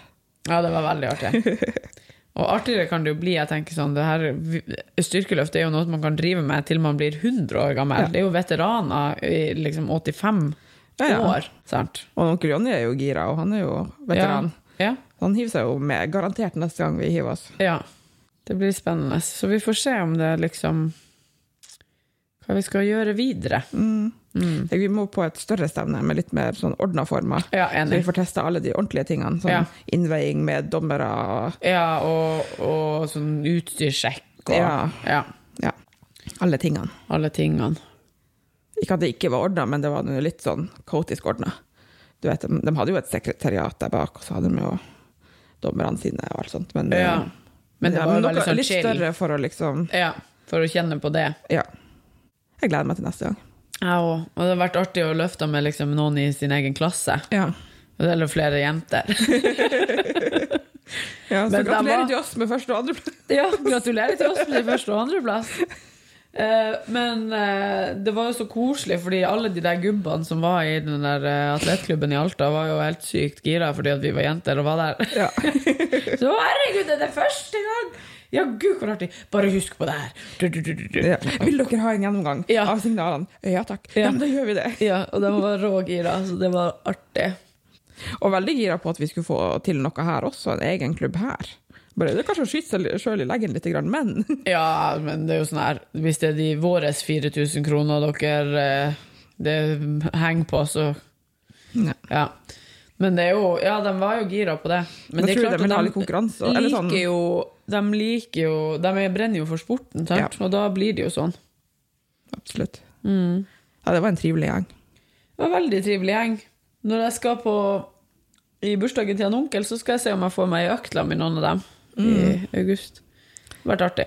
Speaker 2: Ja, det var veldig artig. Og artigere kan det jo bli. jeg tenker sånn, det her, Styrkeløft er jo noe man kan drive med til man blir 100 år gammel.
Speaker 3: Ja.
Speaker 2: Det er jo veteraner i liksom 85
Speaker 3: Ja, ja.
Speaker 2: år. sant?
Speaker 3: Og onkel Jonny er jo gira, og han er jo veteran.
Speaker 2: Ja,
Speaker 3: Han hiver seg jo med, garantert neste gang vi hiver oss.
Speaker 2: ja, ja. Det blir spennende. Så vi får se om det liksom Hva vi skal gjøre videre.
Speaker 3: Mm. Jeg- Vi må på et større stevne med litt mer sånn ordna former.
Speaker 2: Mm. Ja,
Speaker 3: Så vi
Speaker 2: enig.
Speaker 3: får testa alle de ordentlige tingene, sånn
Speaker 2: Ja.
Speaker 3: innveiing med dommere og
Speaker 2: Ja, og, og sånn utstyrssjekk og
Speaker 3: Ja.
Speaker 2: ja.
Speaker 3: ja, alle tingene.
Speaker 2: Alle tingene.
Speaker 3: Ikke at det ikke var ordna, men det var nå litt sånn kaotisk ordna. Du vet, de, de hadde jo et sekretariat der bak, og så hadde de jo dommerne sine og alt sånt. Men, eh,
Speaker 2: Ja. Men det
Speaker 3: ja,
Speaker 2: var jo
Speaker 3: noe
Speaker 2: veldig sånn
Speaker 3: litt
Speaker 2: chill.
Speaker 3: større for å liksom
Speaker 2: Ja, for å kjenne på det.
Speaker 3: Ja. Jeg gleder meg til neste gang.
Speaker 2: Jeg òg. Og det har vært artig å løfte med liksom noen i sin egen klasse.
Speaker 3: Ja.
Speaker 2: Eller flere jenter.
Speaker 3: så
Speaker 2: Men da
Speaker 3: gratulerer
Speaker 2: var-
Speaker 3: til oss med første og andre.
Speaker 2: Ja, gratulerer til oss med første- og andreplass. Eh, men eh, det var jo så koselig, fordi alle de der gubbene som var i den der eh, atletklubben i Alta, var jo helt sykt gira fordi at vi var jenter og var der.
Speaker 3: Ja.
Speaker 2: Så herregud, det er det første gang! Ja, gud, hvor artig! Bare husk på det her. Du, du, du, du, du.
Speaker 3: Ja. Vil dere ha en gjennomgang
Speaker 2: Ja.
Speaker 3: av signalene? Ja takk. Ja.
Speaker 2: Ja.
Speaker 3: men da gjør vi det.
Speaker 2: Ja, og de var rågira, så det var artig.
Speaker 3: Og veldig gira på at vi skulle få til noe her også, en egen klubb her. Bare, det er kanskje å skyte seg sjøl i leggen litt, grann, men
Speaker 2: Ja, men det er jo sånn her Hvis det er de våres 4000 kroner dere eh, Det henger på, så
Speaker 3: Ja.
Speaker 2: ja. Men det er jo Ja, de var jo gira på det. Men
Speaker 3: Da
Speaker 2: det er
Speaker 3: tror jeg
Speaker 2: klart
Speaker 3: de vil ha
Speaker 2: at
Speaker 3: litt konkurranse, eller sånn.
Speaker 2: liker jo De liker jo De er- brenner jo for sporten, sant? Og da blir det jo sånn.
Speaker 3: Absolutt.
Speaker 2: Mm.
Speaker 3: Ja, det var en trivelig gjeng.
Speaker 2: Det var en veldig trivelig gjeng. Når jeg skal på I bursdagen til en onkel, så skal jeg se om jeg får meg ei økt med noen av dem
Speaker 3: Mm.
Speaker 2: i august. Det har vært artig.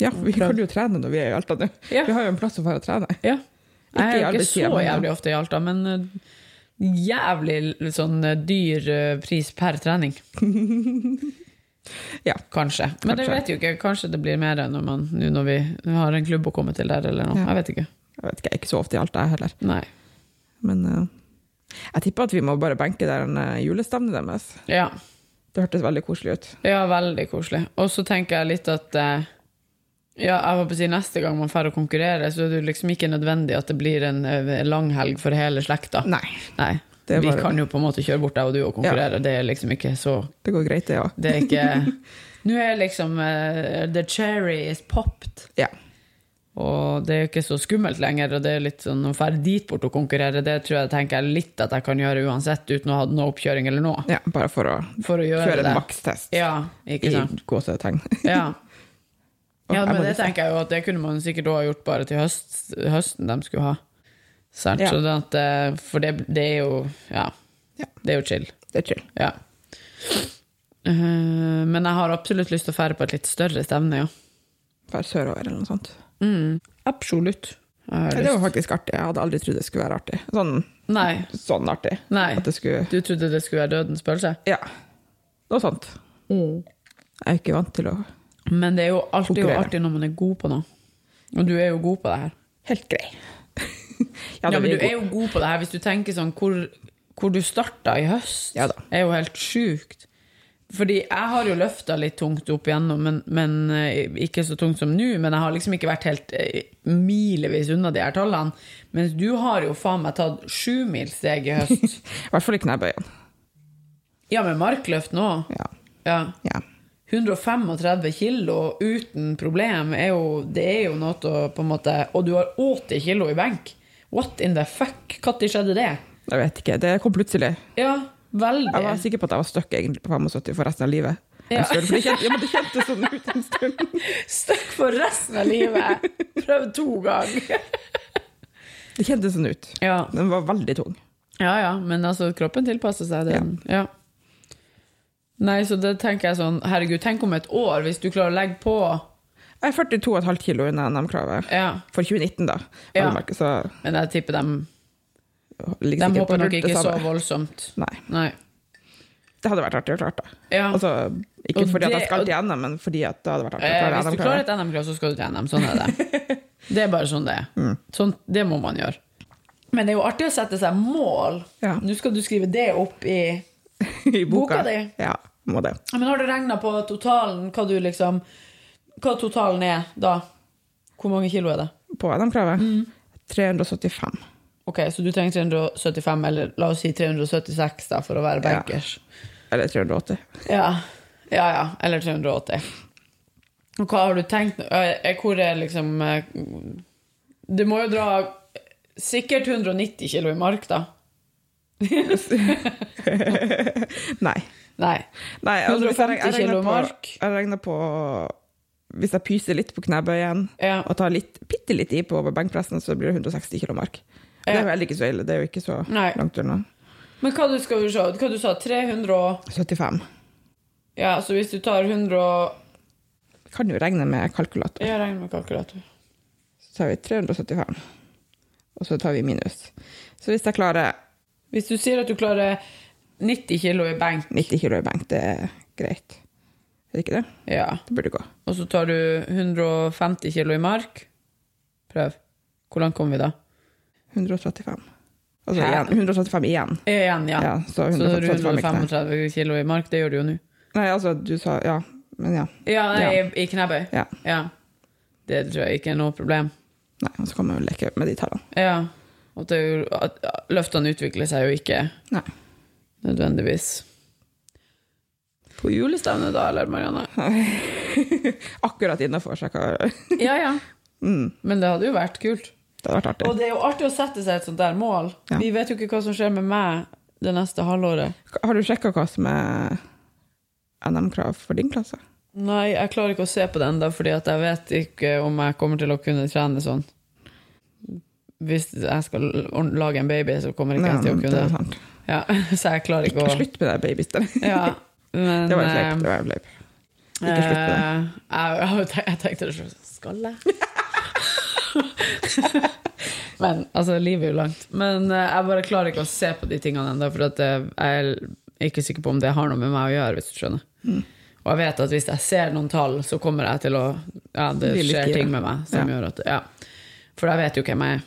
Speaker 3: Ja, vi kan jo trene når vi er i Alta nå.
Speaker 2: Ja.
Speaker 3: Vi har jo en plass å være og trene.
Speaker 2: Ja.
Speaker 3: Ikke
Speaker 2: Jeg
Speaker 3: i
Speaker 2: er jo
Speaker 3: alle
Speaker 2: ikke så
Speaker 3: tider, men ja.
Speaker 2: jævlig ofte i Alta, men eh, jævlig l- sånn eh, dyr eh, pris per trening.
Speaker 3: Ja.
Speaker 2: Kanskje. Men det
Speaker 3: Kanskje.
Speaker 2: vet jo ikke. Kanskje det blir mer når, man, nå når vi har en klubb å komme til der, eller noe.
Speaker 3: Ja.
Speaker 2: Jeg vet ikke.
Speaker 3: Jeg vet ikke, jeg er ikke så ofte i Alta jeg heller.
Speaker 2: Nei.
Speaker 3: Men eh, jeg tipper at vi må bare benke der en uh, julestevne eh, deres.
Speaker 2: Ja.
Speaker 3: Det hørtes veldig koselig ut.
Speaker 2: Ja, veldig koselig. Og så tenker jeg litt at eh, ja, jeg håper å si Neste gang man drar og konkurrerer, så er det jo liksom ikke nødvendig at det blir en eh, langhelg for hele slekta.
Speaker 3: Nei,
Speaker 2: Nei.
Speaker 3: Det er
Speaker 2: Vi
Speaker 3: bare-
Speaker 2: kan jo på en måte kjøre bort deg og du og konkurrere. Det er liksom ikke så
Speaker 3: det går greit, det òg.
Speaker 2: Det er ikke Nå er liksom eh, The cherry is popped.
Speaker 3: Ja.
Speaker 2: Og det er jo ikke så skummelt lenger, og det er litt sånn å ferde dit bort og konkurrere, det tror jeg tenker jeg litt at jeg kan gjøre uansett, uten å ha noe oppkjøring eller noe.
Speaker 3: ja. Bare for å
Speaker 2: For å gjøre
Speaker 3: kjøre
Speaker 2: det.
Speaker 3: en makstest
Speaker 2: Ja, ikke
Speaker 3: i
Speaker 2: sant.
Speaker 3: gåsetegn.
Speaker 2: Ja.
Speaker 3: Og
Speaker 2: ja,
Speaker 3: jeg
Speaker 2: men
Speaker 3: må liksom-
Speaker 2: det
Speaker 3: vise.
Speaker 2: tenker jeg jo at det kunne man sikkert også ha gjort bare til høst, høsten de skulle ha. Sant?
Speaker 3: Ja.
Speaker 2: Så det at, eh, for det, det er jo Ja.
Speaker 3: Ja.
Speaker 2: Det er jo chill.
Speaker 3: Det er chill.
Speaker 2: Ja. Eh, men jeg har absolutt lyst til å ferde på et litt større stevne, ja.
Speaker 3: Bare sørover eller noe sånt.
Speaker 2: Absolutt. Jeg har
Speaker 3: Ja, Det var faktisk artig. Jeg hadde aldri trodd det skulle være artig. Sånn,
Speaker 2: lyst- Nei.
Speaker 3: sånn artig.
Speaker 2: Nei.
Speaker 3: At det skulle
Speaker 2: Du trodde det skulle være dødens pølse?
Speaker 3: Ja. Noe sånt.
Speaker 2: Mm.
Speaker 3: Jeg er ikke vant til å
Speaker 2: Men det er jo alltid jo
Speaker 3: Konkurrere.
Speaker 2: artig når man er god på noe. Og du er jo god på det her.
Speaker 3: Helt grei.
Speaker 2: Ja, men du er jo god på det her hvis du tenker sånn hvor, hvor du starta i høst,
Speaker 3: Ja da.
Speaker 2: er jo helt sjukt. Fordi jeg har jo løfta litt tungt opp igjennom, men, men eh, ikke så tungt som nå. Men jeg har liksom ikke vært helt eh, milevis unna de her tallene. Mens du har jo faen meg tatt sjumilssteg i høst.
Speaker 3: I hvert fall i knebøyene.
Speaker 2: ja, med markløft nå.
Speaker 3: Ja.
Speaker 2: Ja.
Speaker 3: ja.
Speaker 2: 135 kilo uten problem er jo Det er jo noe å på en måte Og du har 80 kilo i benk. What in the fuck? Når skjedde det?
Speaker 3: Jeg vet ikke. Det kom plutselig.
Speaker 2: Ja,
Speaker 3: Jeg var
Speaker 2: veldig.
Speaker 3: sikker på at jeg var stuck egentlig på 75 for resten av livet. En
Speaker 2: Ja.
Speaker 3: stund, for det kjente, ja, men det kjentes sånn ut en stund.
Speaker 2: Stuck for resten av livet. Prøvd to ganger.
Speaker 3: Det kjentes sånn ut.
Speaker 2: Ja.
Speaker 3: Den var veldig tung.
Speaker 2: ja ja, men altså, kroppen tilpasser seg den. Ja. Nei, så det tenker jeg sånn Herregud, tenk om et år, hvis du klarer å legge på
Speaker 3: Jeg er 42,5 kilo unna NM-kravet.
Speaker 2: Ja.
Speaker 3: For 2019, da.
Speaker 2: Ja.
Speaker 3: vel å merke, Så
Speaker 2: Men jeg tipper dem
Speaker 3: ligger
Speaker 2: De
Speaker 3: sikkert på
Speaker 2: håper nok
Speaker 3: rundt det
Speaker 2: ikke så
Speaker 3: samme.
Speaker 2: voldsomt.
Speaker 3: Nei.
Speaker 2: Nei.
Speaker 3: Det hadde vært artig å klare det.
Speaker 2: Ja.
Speaker 3: Altså, ikke
Speaker 2: Og
Speaker 3: fordi at jeg
Speaker 2: det-
Speaker 3: skal til NM, men fordi at det hadde vært artig å
Speaker 2: Eh,
Speaker 3: klare
Speaker 2: hvis du klarer
Speaker 3: NM-kravet.
Speaker 2: et NM-krav, så skal du til NM. Sånn er det. Det er bare sånn det er.
Speaker 3: Mm.
Speaker 2: Sånn, det må man gjøre. Men det er jo artig å sette seg mål.
Speaker 3: Ja.
Speaker 2: Nå skal du skrive det opp i
Speaker 3: I boka.
Speaker 2: Boka di.
Speaker 3: Ja, må det.
Speaker 2: Ja, Men har du regna på totalen, hva du liksom Hva totalen er da? Hvor mange kilo er det?
Speaker 3: På NM-kravet.
Speaker 2: Mm.
Speaker 3: 375.
Speaker 2: Ok, Så du trenger 375, eller la oss si 376 da, for å være
Speaker 3: Ja.
Speaker 2: bankers.
Speaker 3: Eller 380.
Speaker 2: Ja. ja, ja. Eller 380. Og hva har du tenkt Eh, eh, Hvor er liksom eh, Du må jo dra sikkert 190 kilo i mark, da.
Speaker 3: Nei.
Speaker 2: Nei.
Speaker 3: Nei altså, hvis
Speaker 2: 150
Speaker 3: jeg, jeg, regner
Speaker 2: kilo
Speaker 3: på,
Speaker 2: mark.
Speaker 3: jeg regner på Hvis jeg pyser litt på knebøyen
Speaker 2: Ja.
Speaker 3: og tar litt, bitte litt i på benkpressen, så blir det 160 kilo mark. Og Det er jo heller ikke så ille. Det er jo ikke så
Speaker 2: Nei.
Speaker 3: langt unna.
Speaker 2: Men hva du skal vi se Hva du sa 300 og
Speaker 3: 75.
Speaker 2: Ja, så hvis du tar 100 og
Speaker 3: Kan jo regne med kalkulator.
Speaker 2: Jeg regner med kalkulator.
Speaker 3: Så tar vi 375, og så tar vi minus. Så hvis jeg klarer
Speaker 2: Hvis du sier at du klarer 90 kilo i benk,
Speaker 3: 90 kilo i benk, det er greit. Er det ikke det?
Speaker 2: ja,
Speaker 3: Det burde gå.
Speaker 2: og så tar du 150 kilo i mark Prøv. Hvor langt kom vi da?
Speaker 3: 135. Altså
Speaker 2: Hæ?
Speaker 3: igjen, 135 igjen.
Speaker 2: Igjen, ja.
Speaker 3: Ja, så
Speaker 2: så tar du
Speaker 3: 135 i knær.
Speaker 2: 135 kilo i mark, det gjør du jo nå.
Speaker 3: Nei, altså, du sa Ja, men ja.
Speaker 2: Ja, nei,
Speaker 3: Ja.
Speaker 2: i, i knebøy.
Speaker 3: ja.
Speaker 2: Ja. Det tror jeg ikke er noe problem.
Speaker 3: Nei, og så kan man jo leke med de tallene.
Speaker 2: Ja. Og det er jo, at at løftene utvikler seg jo ikke
Speaker 3: Nei.
Speaker 2: nødvendigvis. På julestevnet da, eller Marianne?
Speaker 3: Akkurat innafor, så jeg kan
Speaker 2: Ja, ja.
Speaker 3: mm,
Speaker 2: Men det hadde jo vært kult.
Speaker 3: Det hadde vært artig.
Speaker 2: Og det er jo artig å sette seg et sånt der mål.
Speaker 3: Ja.
Speaker 2: Vi vet jo ikke hva som skjer med meg det neste halvåret.
Speaker 3: Har du sjekka hva som er NM-krav for din klasse?
Speaker 2: Nei, jeg klarer ikke å se på det ennå, fordi at jeg vet ikke om jeg kommer til å kunne trene sånn. Hvis jeg skal ordn- lage en baby, så kommer ikke jeg til å
Speaker 3: det er
Speaker 2: kunne
Speaker 3: sant.
Speaker 2: ja, Så jeg klarer ikke å
Speaker 3: Slutt med det babystedet.
Speaker 2: Ja, men
Speaker 3: Det var en
Speaker 2: eh,
Speaker 3: fleip. Det var en fleip. Ikke slutt på det.
Speaker 2: Eh, jeg, jeg, jeg tenkte det selv, Skal jeg? Men altså, livet er jo langt. Men eh, jeg bare klarer ikke å se på de tingene ennå, for at eh, jeg er ikke sikker på om det har noe med meg å gjøre, hvis du skjønner.
Speaker 3: Mm.
Speaker 2: Og jeg vet at hvis jeg ser noen tall, så kommer jeg til å Ja, det
Speaker 3: Bli litt
Speaker 2: skjer
Speaker 3: gira.
Speaker 2: ting med meg som
Speaker 3: Ja.
Speaker 2: gjør at Ja. For jeg vet jo hvem jeg er.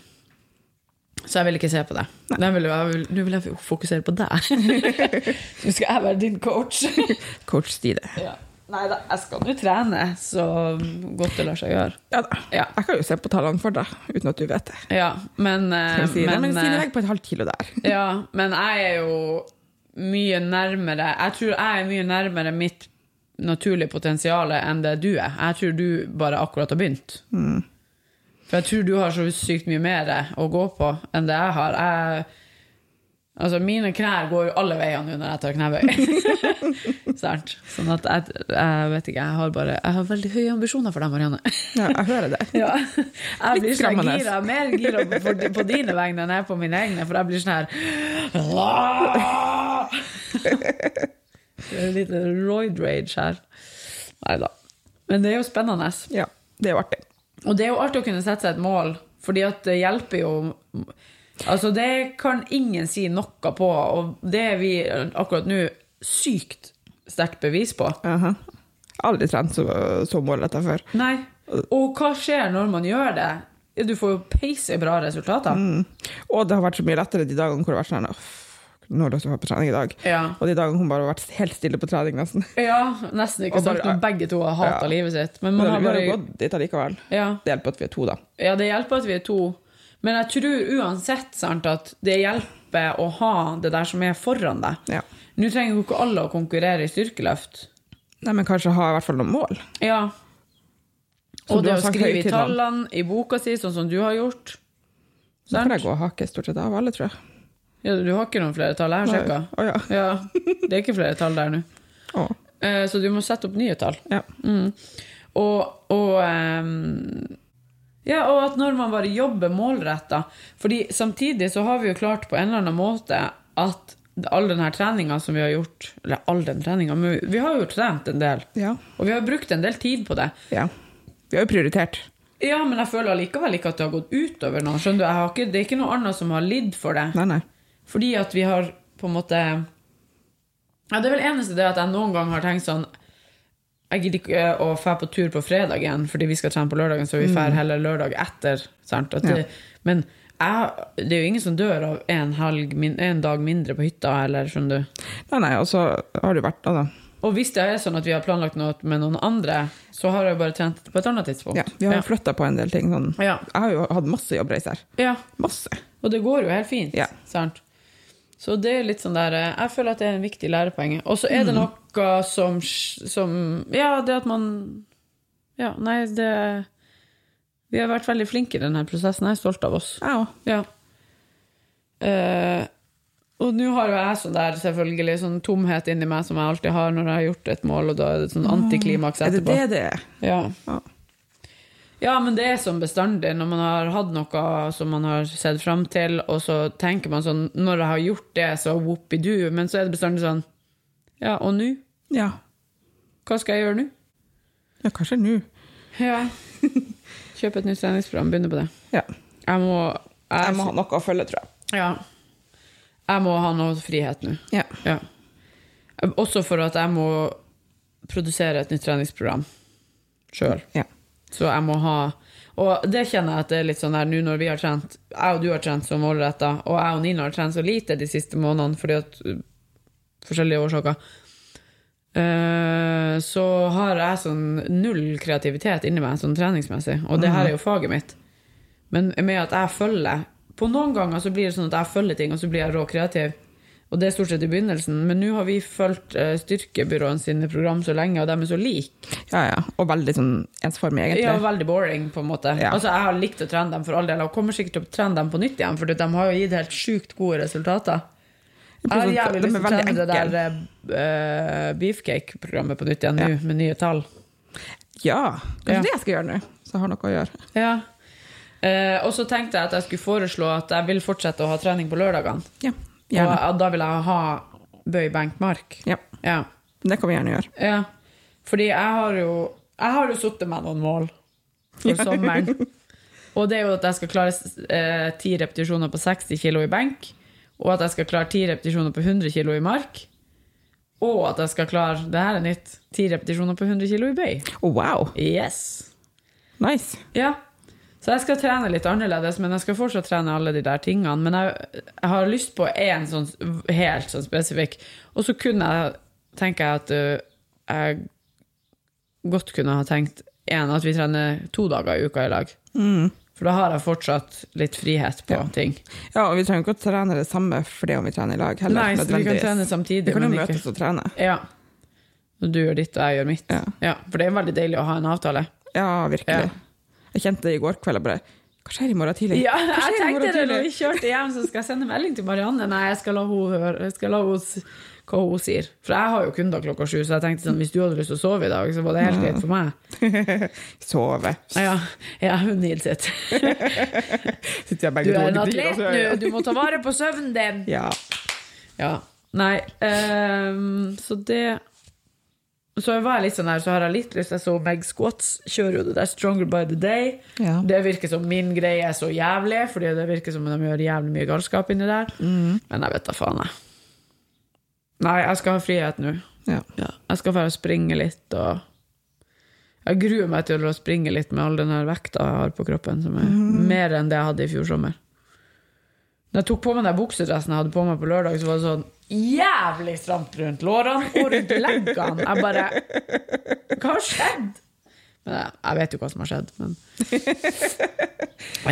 Speaker 2: Så jeg vil ikke se på det. Den vil, jeg vil, nå vil jeg fokusere på deg. Nå skal jeg være din coach.
Speaker 3: Coach Stine.
Speaker 2: ja. Nei da, jeg skal nå trene så godt det lar seg gjøre.
Speaker 3: Ja da.
Speaker 2: Ja.
Speaker 3: Jeg kan jo se på tallene for deg, uten at du vet det.
Speaker 2: Ja, men, eh,
Speaker 3: Men, Stine, men Stine
Speaker 2: eh,
Speaker 3: legger på et halvt kilo der.
Speaker 2: ja, men jeg er jo mye nærmere Jeg tror jeg er mye nærmere mitt naturlige potensial enn det du er. Jeg tror du bare akkurat har begynt. For jeg tror du har så sykt mye mer å gå på enn det jeg har. Jeg, altså, mine knær går jo alle veier nå når jeg tar knebøy. Sant? Sånn at jeg, jeg vet ikke, jeg har bare Jeg har veldig høye ambisjoner for deg, Marianne.
Speaker 3: Ja, jeg hører det.
Speaker 2: Ja. Jeg blir sånn
Speaker 3: Litt skremmende.
Speaker 2: gira, mer gira på, på dine vegne enn jeg er på mine egne, for jeg blir sånn her Det er litt roid rage her. Nei da. Men det er jo spennende.
Speaker 3: Ja, det er jo artig.
Speaker 2: Og det er jo artig å kunne sette seg et mål, fordi at det hjelper jo Altså, det kan ingen si noe på, og det er vi akkurat nå sykt sterkt bevis på.
Speaker 3: Aha. Aldri trent så, så målretta før.
Speaker 2: Nei. Og hva skjer når man gjør det? Du får jo peise bra resultater.
Speaker 3: Mm. Og det har vært så mye lettere de dagene hvor det har vært sånn «Uff, Nå har du også vært på trening i dag.
Speaker 2: Ja.
Speaker 3: Og de dagene hvor man bare har vært helt stille på trening, nesten.
Speaker 2: Ja, nesten ikke
Speaker 3: Og bare-
Speaker 2: sant. Når begge to har hata
Speaker 3: Ja.
Speaker 2: livet sitt. Men
Speaker 3: Men
Speaker 2: man
Speaker 3: vi
Speaker 2: har
Speaker 3: har jo
Speaker 2: bare
Speaker 3: gått dit allikevel.
Speaker 2: ja.
Speaker 3: Det hjelper at vi er to, da.
Speaker 2: ja, det hjelper at vi er to. Men jeg tror uansett sant, at det hjelper å ha det der som er foran deg.
Speaker 3: Ja.
Speaker 2: Nå trenger jo ikke alle å konkurrere i styrkeløft.
Speaker 3: Nei, men kanskje ha i hvert fall noen mål.
Speaker 2: Ja.
Speaker 3: Så
Speaker 2: Og
Speaker 3: du
Speaker 2: det
Speaker 3: har
Speaker 2: å
Speaker 3: sagt
Speaker 2: skrive i
Speaker 3: høytidene.
Speaker 2: tallene i boka si, sånn som du har gjort.
Speaker 3: Så kan
Speaker 2: Sant?
Speaker 3: jeg gå og hake stort sett av alle, tror jeg.
Speaker 2: Ja, du har ikke noen flere tall? Jeg har
Speaker 3: Nei.
Speaker 2: sjekka.
Speaker 3: Å, ja.
Speaker 2: Ja, det er ikke flere tall der nå.
Speaker 3: Å,
Speaker 2: Eh, Så du må sette opp nye tall.
Speaker 3: ja.
Speaker 2: Mm. Og, og ehm, Ja, og at når man bare jobber målretta fordi samtidig så har vi jo klart på en eller annen måte at all den her treninga som vi har gjort Eller all den treninga, men vi har jo trent en del.
Speaker 3: Ja.
Speaker 2: Og vi har brukt en del tid på det.
Speaker 3: ja. Vi har jo prioritert.
Speaker 2: Ja, men jeg føler allikevel ikke at det har gått utover noe. Skjønner du? Jeg har ikke, det er ikke noe annet som har lidd for det.
Speaker 3: Nei, nei.
Speaker 2: Fordi at vi har på en måte Ja, det er vel eneste det at jeg noen gang har tenkt sånn Jeg gidder ikke eh, å dra på tur på fredagen fordi vi skal trene på lørdagen, så vi
Speaker 3: Mm.
Speaker 2: drar heller lørdag etter. Sant? At det, Men jeg, det er jo ingen som dør av en, helg, min, en dag mindre på hytta, eller skjønner du.
Speaker 3: Nei, nei, og så har det jo vært altså,
Speaker 2: Og hvis det er sånn at vi har planlagt noe med noen andre, så har jeg jo bare trent på et annet tidspunkt.
Speaker 3: ja, Vi har jo flytta på en del ting. Sånn.
Speaker 2: Ja.
Speaker 3: Jeg har jo hatt masse jobbreiser.
Speaker 2: ja.
Speaker 3: Masse.
Speaker 2: Og det går jo helt fint.
Speaker 3: Ja.
Speaker 2: Sant? Så det er litt sånn der eh, Jeg føler at det er en viktig lærepoeng. Og så
Speaker 3: Mm.
Speaker 2: er det noe som, sj- som Ja, det at man Ja, nei, det Vi har vært veldig flinke i denne prosessen. Jeg er stolt av oss.
Speaker 3: Jeg òg.
Speaker 2: Ja. Eh, og nå har jo jeg sånn der selvfølgelig sånn tomhet inni meg som jeg alltid har når jeg har gjort et mål, og da er det sånn antiklimaks
Speaker 3: Mm. Er det
Speaker 2: etterpå.
Speaker 3: det det er?
Speaker 2: Ja.
Speaker 3: Ja.
Speaker 2: Ja, men det er som bestandig. Når man har hatt noe som man har sett fram til, og så tenker man sånn Når jeg har gjort det, så whoopidoo. Men så er det bestandig sånn Ja, og nå?
Speaker 3: Ja.
Speaker 2: Hva skal jeg gjøre nå?
Speaker 3: ja kanskje nå.
Speaker 2: Ja. Kjøpe et nytt treningsprogram, begynne på det.
Speaker 3: Ja.
Speaker 2: Jeg må
Speaker 3: Jeg
Speaker 2: jeg,
Speaker 3: må ha noe å følge, tror jeg.
Speaker 2: Ja. Jeg må ha noe frihet nå.
Speaker 3: Ja.
Speaker 2: Ja. Også for at jeg må produsere et nytt treningsprogram sjøl.
Speaker 3: Ja.
Speaker 2: Så jeg må ha Og det kjenner jeg at det er litt sånn her nå når vi har trent Jeg og du har trent så målretta, og jeg og Nina har trent så lite de siste månedene fordi at uh, Forskjellige årsaker. Eh, Så har jeg sånn null kreativitet inni meg sånn treningsmessig, og det her er jo faget mitt. Men med at jeg følger På noen ganger så blir det sånn at jeg følger ting, og så blir jeg rå kreativ. Og det er stort sett i begynnelsen, men nå har vi fulgt eh, styrkebyråene sine program så lenge, og de er så like.
Speaker 3: ja, ja. Og veldig sånn ensformig, egentlig.
Speaker 2: Ja, veldig boring, på en måte.
Speaker 3: Ja.
Speaker 2: Altså, Jeg har likt å trene dem for all del, og kommer sikkert til å trene dem på nytt igjen, for de har jo gitt helt sjukt gode resultater. Jeg har
Speaker 3: Plutselig-
Speaker 2: jævlig
Speaker 3: de
Speaker 2: lyst
Speaker 3: er
Speaker 2: til å
Speaker 3: veldig
Speaker 2: trene det
Speaker 3: enkel.
Speaker 2: der eh, beefcake-programmet på nytt igjen nå, med nye tall.
Speaker 3: Ja, kanskje
Speaker 2: Ja.
Speaker 3: det jeg skal gjøre nå. Så jeg har noe å gjøre.
Speaker 2: Ja. Eh, og så tenkte jeg at jeg skulle foreslå at jeg vil fortsette å ha trening på lørdagene.
Speaker 3: Ja,
Speaker 2: Og
Speaker 3: gjerne.
Speaker 2: ja, da vil jeg ha bøy, benk, mark.
Speaker 3: Ja,
Speaker 2: Ja.
Speaker 3: det kan vi gjerne gjøre.
Speaker 2: Ja, fordi jeg har jo Jeg har jo suttet meg noen mål for sommeren. Og det er jo at jeg skal klare eh, 10 repetisjoner på 60 kilo i benk, og at jeg skal klare 10 repetisjoner på 100 kilo i mark, og at jeg skal klare det her er nytt 10 repetisjoner på 100 kilo i bøy.
Speaker 3: Oh, wow,
Speaker 2: Yes.
Speaker 3: nice.
Speaker 2: Ja. Så jeg skal trene litt annerledes, men jeg skal fortsatt trene alle de der tingene. Men jeg, jeg har lyst på én sånn s- helt sånn spesifikk. Og så kunne jeg, tenker jeg at øh, jeg godt kunne ha tenkt en, at vi trener to dager i uka i lag. For da har jeg fortsatt litt frihet på ting.
Speaker 3: Mm. Ja, og vi trenger ikke å trene det samme fordi om vi trener i lag heller.
Speaker 2: Nei, så vi kan
Speaker 3: nødvendigvis.
Speaker 2: trene samtidig,
Speaker 3: Vi kan jo
Speaker 2: men ikke
Speaker 3: møtes og trene.
Speaker 2: Ja. Og du gjør ditt, og jeg gjør mitt.
Speaker 3: Ja.
Speaker 2: For det er veldig deilig å ha en avtale.
Speaker 3: Ja, virkelig. Jeg kjente det i går kveld. Jeg bare Hva skjer i morgen tidlig?
Speaker 2: Ja,
Speaker 3: Hva skjer
Speaker 2: jeg
Speaker 3: i morgen
Speaker 2: tenkte det når
Speaker 3: tidlig?
Speaker 2: vi kjørte hjem, så skal jeg sende melding til Marianne. Nei, jeg skal la henne høre jeg skal la hun s- hva hun sier. For jeg har jo kunder klokka sju, så jeg tenkte sånn, hvis du hadde lyst til å sove i dag, så var det helt greit for meg.
Speaker 3: Sove.
Speaker 2: Ja, ja hun Nils sitt.
Speaker 3: Sitter
Speaker 2: Du
Speaker 3: jeg begge to
Speaker 2: er en
Speaker 3: og
Speaker 2: atlet nå, du må ta vare på søvnen din.
Speaker 3: Ja.
Speaker 2: altså. Ja. Nei, ehm, så det Så jeg var litt sånn her, så har jeg litt lyst. Jeg så Meg Squats kjører jo det der Stronger by the day.
Speaker 3: Ja.
Speaker 2: Det virker som min greie er så jævlig, fordi det virker som de gjør jævlig mye galskap inni der. Men jeg vet da faen, jeg. Nei, jeg skal ha frihet nå.
Speaker 3: ja.
Speaker 2: Jeg skal bare springe litt og Jeg gruer meg til å springe litt med all den her vekta jeg har på kroppen, som er mer enn det jeg hadde i fjor sommer. Når jeg tok på meg den buksedressen jeg hadde på meg på lørdag, så var det sånn jævlig stramt rundt lårene og rundt leggene. Jeg bare Hva har skjedd? Men jeg, jeg vet jo hva som har skjedd, men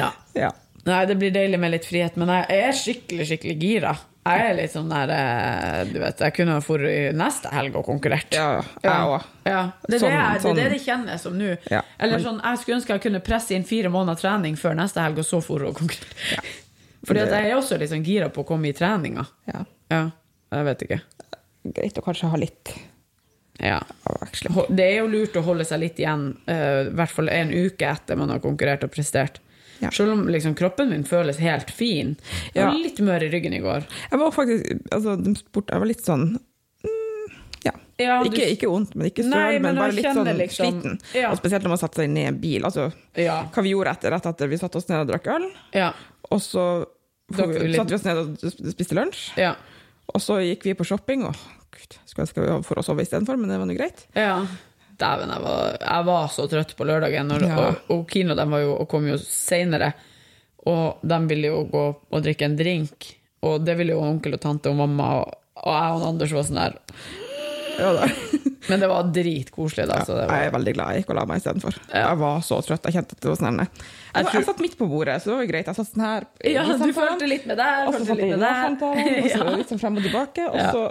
Speaker 2: Ja.
Speaker 3: ja.
Speaker 2: Nei, det blir deilig med litt frihet, men jeg er skikkelig, skikkelig gira. Jeg er litt sånn der eh, Du vet, jeg kunne ha dratt neste helg og konkurrert.
Speaker 3: Ja, jeg òg.
Speaker 2: Ja. Det, er det,
Speaker 3: Sånn-
Speaker 2: jeg- det er det
Speaker 3: sånn.
Speaker 2: det kjennes som nå.
Speaker 3: Ja.
Speaker 2: Eller sånn, Jeg skulle ønske jeg kunne presse inn fire måneder trening før neste helg, og så for å konkurrere. Fordi at jeg er også litt sånn gira på å komme i treninga.
Speaker 3: Ja.
Speaker 2: Ja, jeg vet ikke.
Speaker 3: Greit å kanskje ha litt
Speaker 2: Ja.
Speaker 3: avveksling.
Speaker 2: Ho- Det er jo lurt å holde seg litt igjen, eh, i hvert fall en uke etter man har konkurrert og prestert.
Speaker 3: Ja.
Speaker 2: Selv om liksom, kroppen min føles helt fin. Jeg var
Speaker 3: Ja.
Speaker 2: litt mør i ryggen i går.
Speaker 3: Jeg var faktisk altså, de spurte, Jeg var litt sånn mm, ja.
Speaker 2: Ja, du-
Speaker 3: ikke, ikke vondt, men ikke søl,
Speaker 2: Nei, men
Speaker 3: men,
Speaker 2: jeg
Speaker 3: bare litt sånn
Speaker 2: kjenner liksom-
Speaker 3: sliten.
Speaker 2: Ja.
Speaker 3: Og spesielt når man satte seg ned i en bil. Altså,
Speaker 2: Ja.
Speaker 3: Hva vi gjorde etter, rett etter vi satte oss ned og drakk øl,
Speaker 2: Ja.
Speaker 3: og så
Speaker 2: Drakk vi litt-
Speaker 3: satte vi oss ned og sp- spiste lunsj.
Speaker 2: Ja.
Speaker 3: Og så gikk vi på shopping, og gud, skulle ønske vi var for å sove istedenfor, men det var nå greit.
Speaker 2: ja. Dæven, jeg, var- jeg var så trøtt på lørdagen. Når,
Speaker 3: Ja.
Speaker 2: Og, og Kino de var jo, og kom jo seinere, og de ville jo gå og drikke en drink. Og det ville jo onkel og tante og mamma, og, og jeg og Anders var sånn der.
Speaker 3: Ja, da.
Speaker 2: Men det var dritkoselig, da. Så det var,
Speaker 3: Jeg er veldig glad jeg gikk og la meg istedenfor. Jeg var så trøtt. Jeg kjente at det var sånn her, nei. Jeg,
Speaker 2: tror-
Speaker 3: jeg satt midt på bordet, så det var jo greit. Jeg satt sånn her. i
Speaker 2: ja, du
Speaker 3: samtalen,
Speaker 2: følte litt med der,
Speaker 3: Og så
Speaker 2: følte
Speaker 3: satt jeg
Speaker 2: litt
Speaker 3: i
Speaker 2: med
Speaker 3: samtalen,
Speaker 2: der.
Speaker 3: og så litt sånn frem og tilbake. Og
Speaker 2: Ja.
Speaker 3: så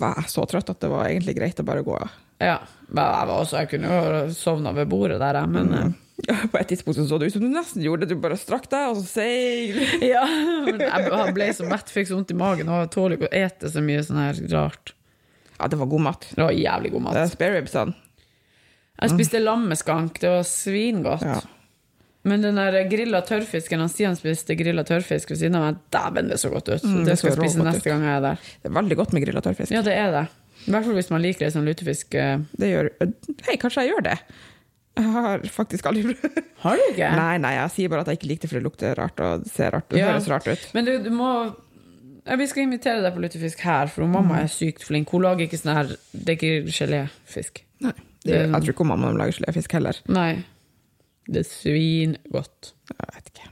Speaker 3: var jeg så trøtt at det var egentlig greit å bare gå.
Speaker 2: Ja, men jeg, var også, jeg kunne jo sovna ved bordet der, jeg, men
Speaker 3: Mm.
Speaker 2: eh,
Speaker 3: På et tidspunkt så, så det ut som du nesten gjorde det. Du bare strakk deg, og så seig.
Speaker 2: Ja, eh, men jeg jeg ble så mett, fikk så vondt i magen og jeg tåler ikke å ete så mye sånn her rart.
Speaker 3: Ja, det var god mat.
Speaker 2: Det var jævlig god
Speaker 3: Det er
Speaker 2: mat.
Speaker 3: spare ribsene.
Speaker 2: Jeg spiste lammeskank, det var svingodt.
Speaker 3: Ja.
Speaker 2: Men den der grilla tørrfisken, han Stian spiste grilla tørrfisk ved siden av meg, dæven, det så godt ut.
Speaker 3: Mm, det
Speaker 2: det skal jeg
Speaker 3: så
Speaker 2: spise
Speaker 3: rågodt
Speaker 2: neste
Speaker 3: ut.
Speaker 2: gang jeg er der.
Speaker 3: Det er veldig godt med grilla tørrfisk.
Speaker 2: Ja, det er det. I hvert fall hvis man liker det som lutefisk. eh.
Speaker 3: Det gjør øh, Hei, kanskje jeg gjør det. Jeg har faktisk aldri prøvd.
Speaker 2: Har du ikke?
Speaker 3: Nei, nei, jeg sier bare at jeg ikke likte det, for det lukter rart og det ser rart, det
Speaker 2: Ja.
Speaker 3: høres rart ut.
Speaker 2: Men du, du må ja, Vi skal invitere deg på lutefisk her, for
Speaker 3: Mm.
Speaker 2: mamma er sykt flink. Hun lager ikke sånn her Det er ikke geléfisk.
Speaker 3: Nei, det, jeg tror ikke mamma lager geléfisk heller.
Speaker 2: Nei. Det er svingodt.
Speaker 3: Jeg vet ikke.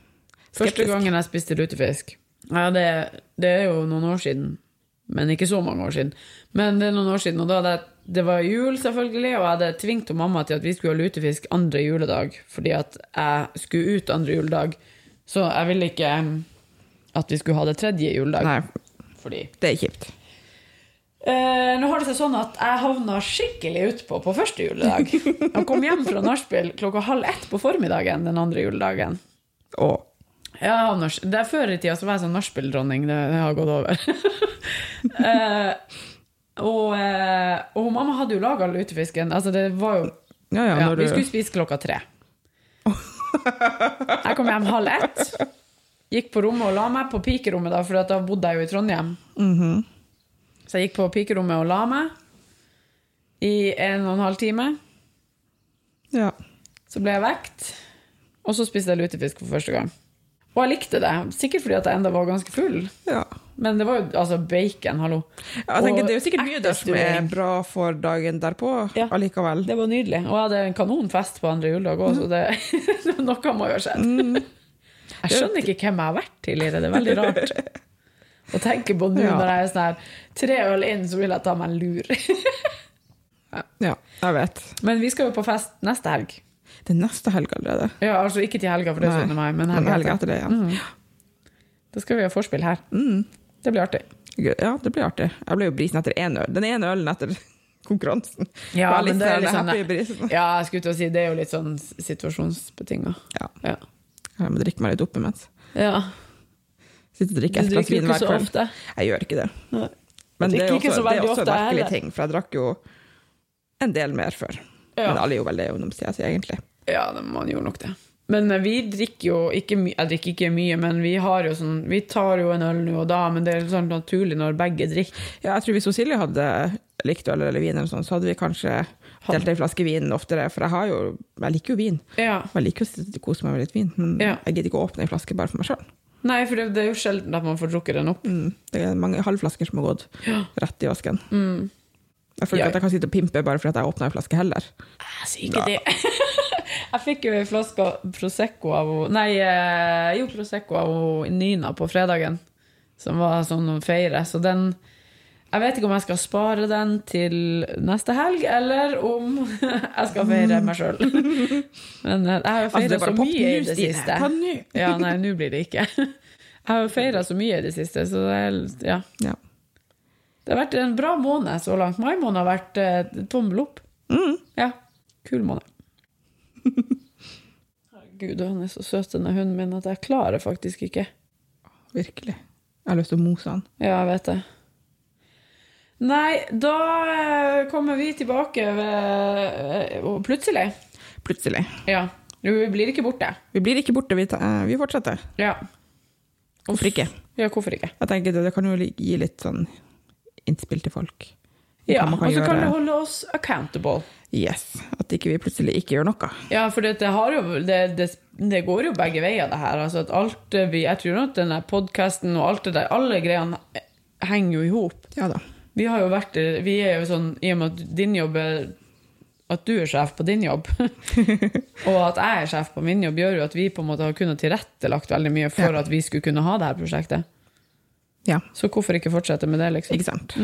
Speaker 2: Første
Speaker 3: Skeptisk.
Speaker 2: gangen jeg spiste lutefisk ja, det, det er jo noen år siden, men ikke så mange år siden. Men det er noen år siden, og da hadde jeg, det var jul, selvfølgelig, og jeg hadde tvingt mamma til at vi skulle ha lutefisk andre juledag, fordi at jeg skulle ut andre juledag. Så jeg ville ikke um, at vi skulle ha det tredje juledag.
Speaker 3: Nei,
Speaker 2: Fordi
Speaker 3: det er kjipt.
Speaker 2: Eh, nå har det seg sånn at jeg havna skikkelig utpå på første juledag. Jeg kom hjem fra nachspiel klokka halv ett på formiddagen den andre juledagen.
Speaker 3: Og
Speaker 2: Ja, Anders, det er Før i tida så var jeg sånn nachspieldronning. Det, det har gått over. eh, og, eh, og mamma hadde jo laga lutefisken. Altså, det var jo
Speaker 3: ja, ja,
Speaker 2: ja,
Speaker 3: når
Speaker 2: Vi
Speaker 3: du
Speaker 2: skulle spise klokka tre. Jeg kom hjem halv ett. Gikk på rommet og la meg på pikerommet, da, for da bodde jeg jo i Trondheim.
Speaker 3: Mhm.
Speaker 2: Så jeg gikk på pikerommet og la meg i en og en halv time.
Speaker 3: Ja.
Speaker 2: Så ble jeg vekt, og så spiste jeg lutefisk for første gang. Og jeg likte det, sikkert fordi at jeg enda var ganske full.
Speaker 3: ja.
Speaker 2: Men det var jo altså bacon, hallo.
Speaker 3: Jeg tenker,
Speaker 2: Og
Speaker 3: det er jo sikkert mye der som er
Speaker 2: ertesturering.
Speaker 3: bra for dagen derpå
Speaker 2: Ja.
Speaker 3: allikevel.
Speaker 2: Det var nydelig. Og jeg hadde en kanonfest på andre juledag òg, så det, noe må jo ha skjedd.
Speaker 3: Mm.
Speaker 2: Jeg skjønner ikke hvem jeg har vært tidligere. Det er veldig rart å tenke på nå
Speaker 3: Ja.
Speaker 2: når jeg er sånn her Tre øl inn, så vil jeg ta meg en lur.
Speaker 3: Ja, jeg vet.
Speaker 2: Men vi skal jo på fest neste helg.
Speaker 3: Det er neste helg allerede.
Speaker 2: Ja, altså ikke til helga, for det er 17. mai, men
Speaker 3: helga
Speaker 2: helga etter. Mm.
Speaker 3: etter det, ja.
Speaker 2: Da skal vi ha vorspiel her.
Speaker 3: Mm.
Speaker 2: Det blir artig.
Speaker 3: Gud, ja, det blir artig. Jeg ble jo brisen etter én øl. Den ene ølen etter konkurransen.
Speaker 2: Ja,
Speaker 3: Var litt
Speaker 2: men det er
Speaker 3: sånn
Speaker 2: liksom-
Speaker 3: happy i brisen.
Speaker 2: Ja, jeg skulle til å si, det er jo litt sånn situasjonsbetinga.
Speaker 3: Ja.
Speaker 2: Ja.
Speaker 3: Jeg må drikke meg litt opp imens.
Speaker 2: ja.
Speaker 3: Sitte
Speaker 2: Du
Speaker 3: og drikke et glass
Speaker 2: drikker jo
Speaker 3: vin
Speaker 2: ikke
Speaker 3: hver
Speaker 2: så
Speaker 3: kveld.
Speaker 2: ofte.
Speaker 3: Jeg gjør ikke det.
Speaker 2: Nei. Jeg
Speaker 3: Men det er
Speaker 2: drikker ikke så
Speaker 3: også, det er
Speaker 2: veldig
Speaker 3: også en
Speaker 2: ofte, jeg
Speaker 3: merkelig
Speaker 2: heller.
Speaker 3: ting, for jeg drakk jo en del mer før.
Speaker 2: Ja.
Speaker 3: Men alle er jo veldig ungdomstida si, egentlig.
Speaker 2: Ja, det- man gjorde nok det. Men eh, vi drikker jo ikke mye, jeg drikker ikke mye, men vi har jo sånn, vi tar jo en øl nå og da, men det er sånn naturlig når begge drikker.
Speaker 3: Ja, jeg tror hvis hun Silje hadde likt øl eller vin, eller sånn, så hadde vi kanskje delt ei flaske vin oftere. For jeg, har jo, jeg liker jo vin.
Speaker 2: Ja.
Speaker 3: Og Jeg liker jo å sitte og kose meg med litt vin, men
Speaker 2: Ja.
Speaker 3: jeg gidder ikke å åpne ei flaske bare for meg sjøl.
Speaker 2: Nei, for det, det er jo sjelden at man får drukket den opp.
Speaker 3: Mm. Det er mange halvflasker som har gått rett i vasken.
Speaker 2: Mm.
Speaker 3: Jeg føler
Speaker 2: Ja.
Speaker 3: ikke at jeg kan sitte og pimpe bare fordi at jeg åpna ei flaske heller.
Speaker 2: Jeg sier Altså, ikke det. jeg fikk jo ei flaske Prosecco av ho- Nei, eh, jo, Prosecco av ho- Nina på fredagen, som var sånn å feire, så den jeg vet ikke om jeg skal spare den til neste helg, eller om jeg skal feire meg sjøl. Men eh, jeg har jo
Speaker 3: Altså,
Speaker 2: feira
Speaker 3: det er bare
Speaker 2: så mye i
Speaker 3: popmus,
Speaker 2: det
Speaker 3: Stine.
Speaker 2: siste.
Speaker 3: Ta nå.
Speaker 2: Ja, nei, nå blir det ikke. Jeg har jo feira så mye i det siste, så det er, ja.
Speaker 3: Ja.
Speaker 2: Det har vært en bra måned så langt. Mai måned har vært eh, tommel opp.
Speaker 3: Mm.
Speaker 2: Ja. Kul måned. Herregud, han er så søt, denne hunden min, at jeg klarer faktisk ikke.
Speaker 3: Virkelig. Jeg har lyst til å mose han.
Speaker 2: Ja, jeg vet det. Nei, da eh, kommer vi tilbake ved, og plutselig.
Speaker 3: Plutselig.
Speaker 2: Ja. Jo, vi blir ikke borte.
Speaker 3: Vi blir ikke borte, vi, ta, eh, vi fortsetter.
Speaker 2: Ja.
Speaker 3: Hvorfor ikke?
Speaker 2: ja, hvorfor ikke?
Speaker 3: Jeg tenker det, det kan jo li- gi litt sånn innspill til folk. i
Speaker 2: Ja,
Speaker 3: hva man
Speaker 2: Og
Speaker 3: kan
Speaker 2: så kan
Speaker 3: gjøre.
Speaker 2: det holde oss accountable.
Speaker 3: Yes, At ikke vi plutselig ikke gjør noe.
Speaker 2: Ja, for det, det, har jo, det, det, det går jo begge veier, det her. Altså at alt eh, vi, jeg tror at denne podkasten og alt det der, alle greiene eh, henger jo i hop.
Speaker 3: Ja da.
Speaker 2: Vi har jo vært eh, Vi er jo sånn, i og med at din jobb er At du er sjef på din jobb, og at jeg er sjef på min jobb, gjør jo at vi på en måte har kunnet tilrettelagt veldig mye for
Speaker 3: Ja.
Speaker 2: at vi skulle kunne ha det her prosjektet.
Speaker 3: Ja,
Speaker 2: Så hvorfor ikke fortsette med det, liksom?
Speaker 3: ikke sant.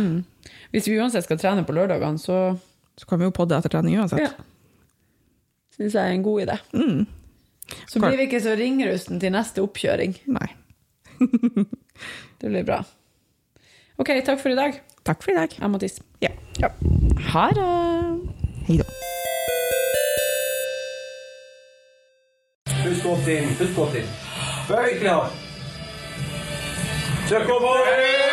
Speaker 2: Hvis vi uansett skal trene på lørdagene, så
Speaker 3: Så kan vi jo podde etter trening uansett.
Speaker 2: Ja. Syns jeg er en god idé. Så
Speaker 3: Klar.
Speaker 2: blir vi ikke så ringrusten til neste oppkjøring.
Speaker 3: Nei.
Speaker 2: Det blir bra. OK, takk for i dag.
Speaker 3: Takk for i dag.
Speaker 2: Jeg må tisse.
Speaker 3: Ja.
Speaker 2: Ha det!
Speaker 3: Hei da.
Speaker 1: Husk godt inn. Husk godt inn. Bøy knall. Trykk opp hånden.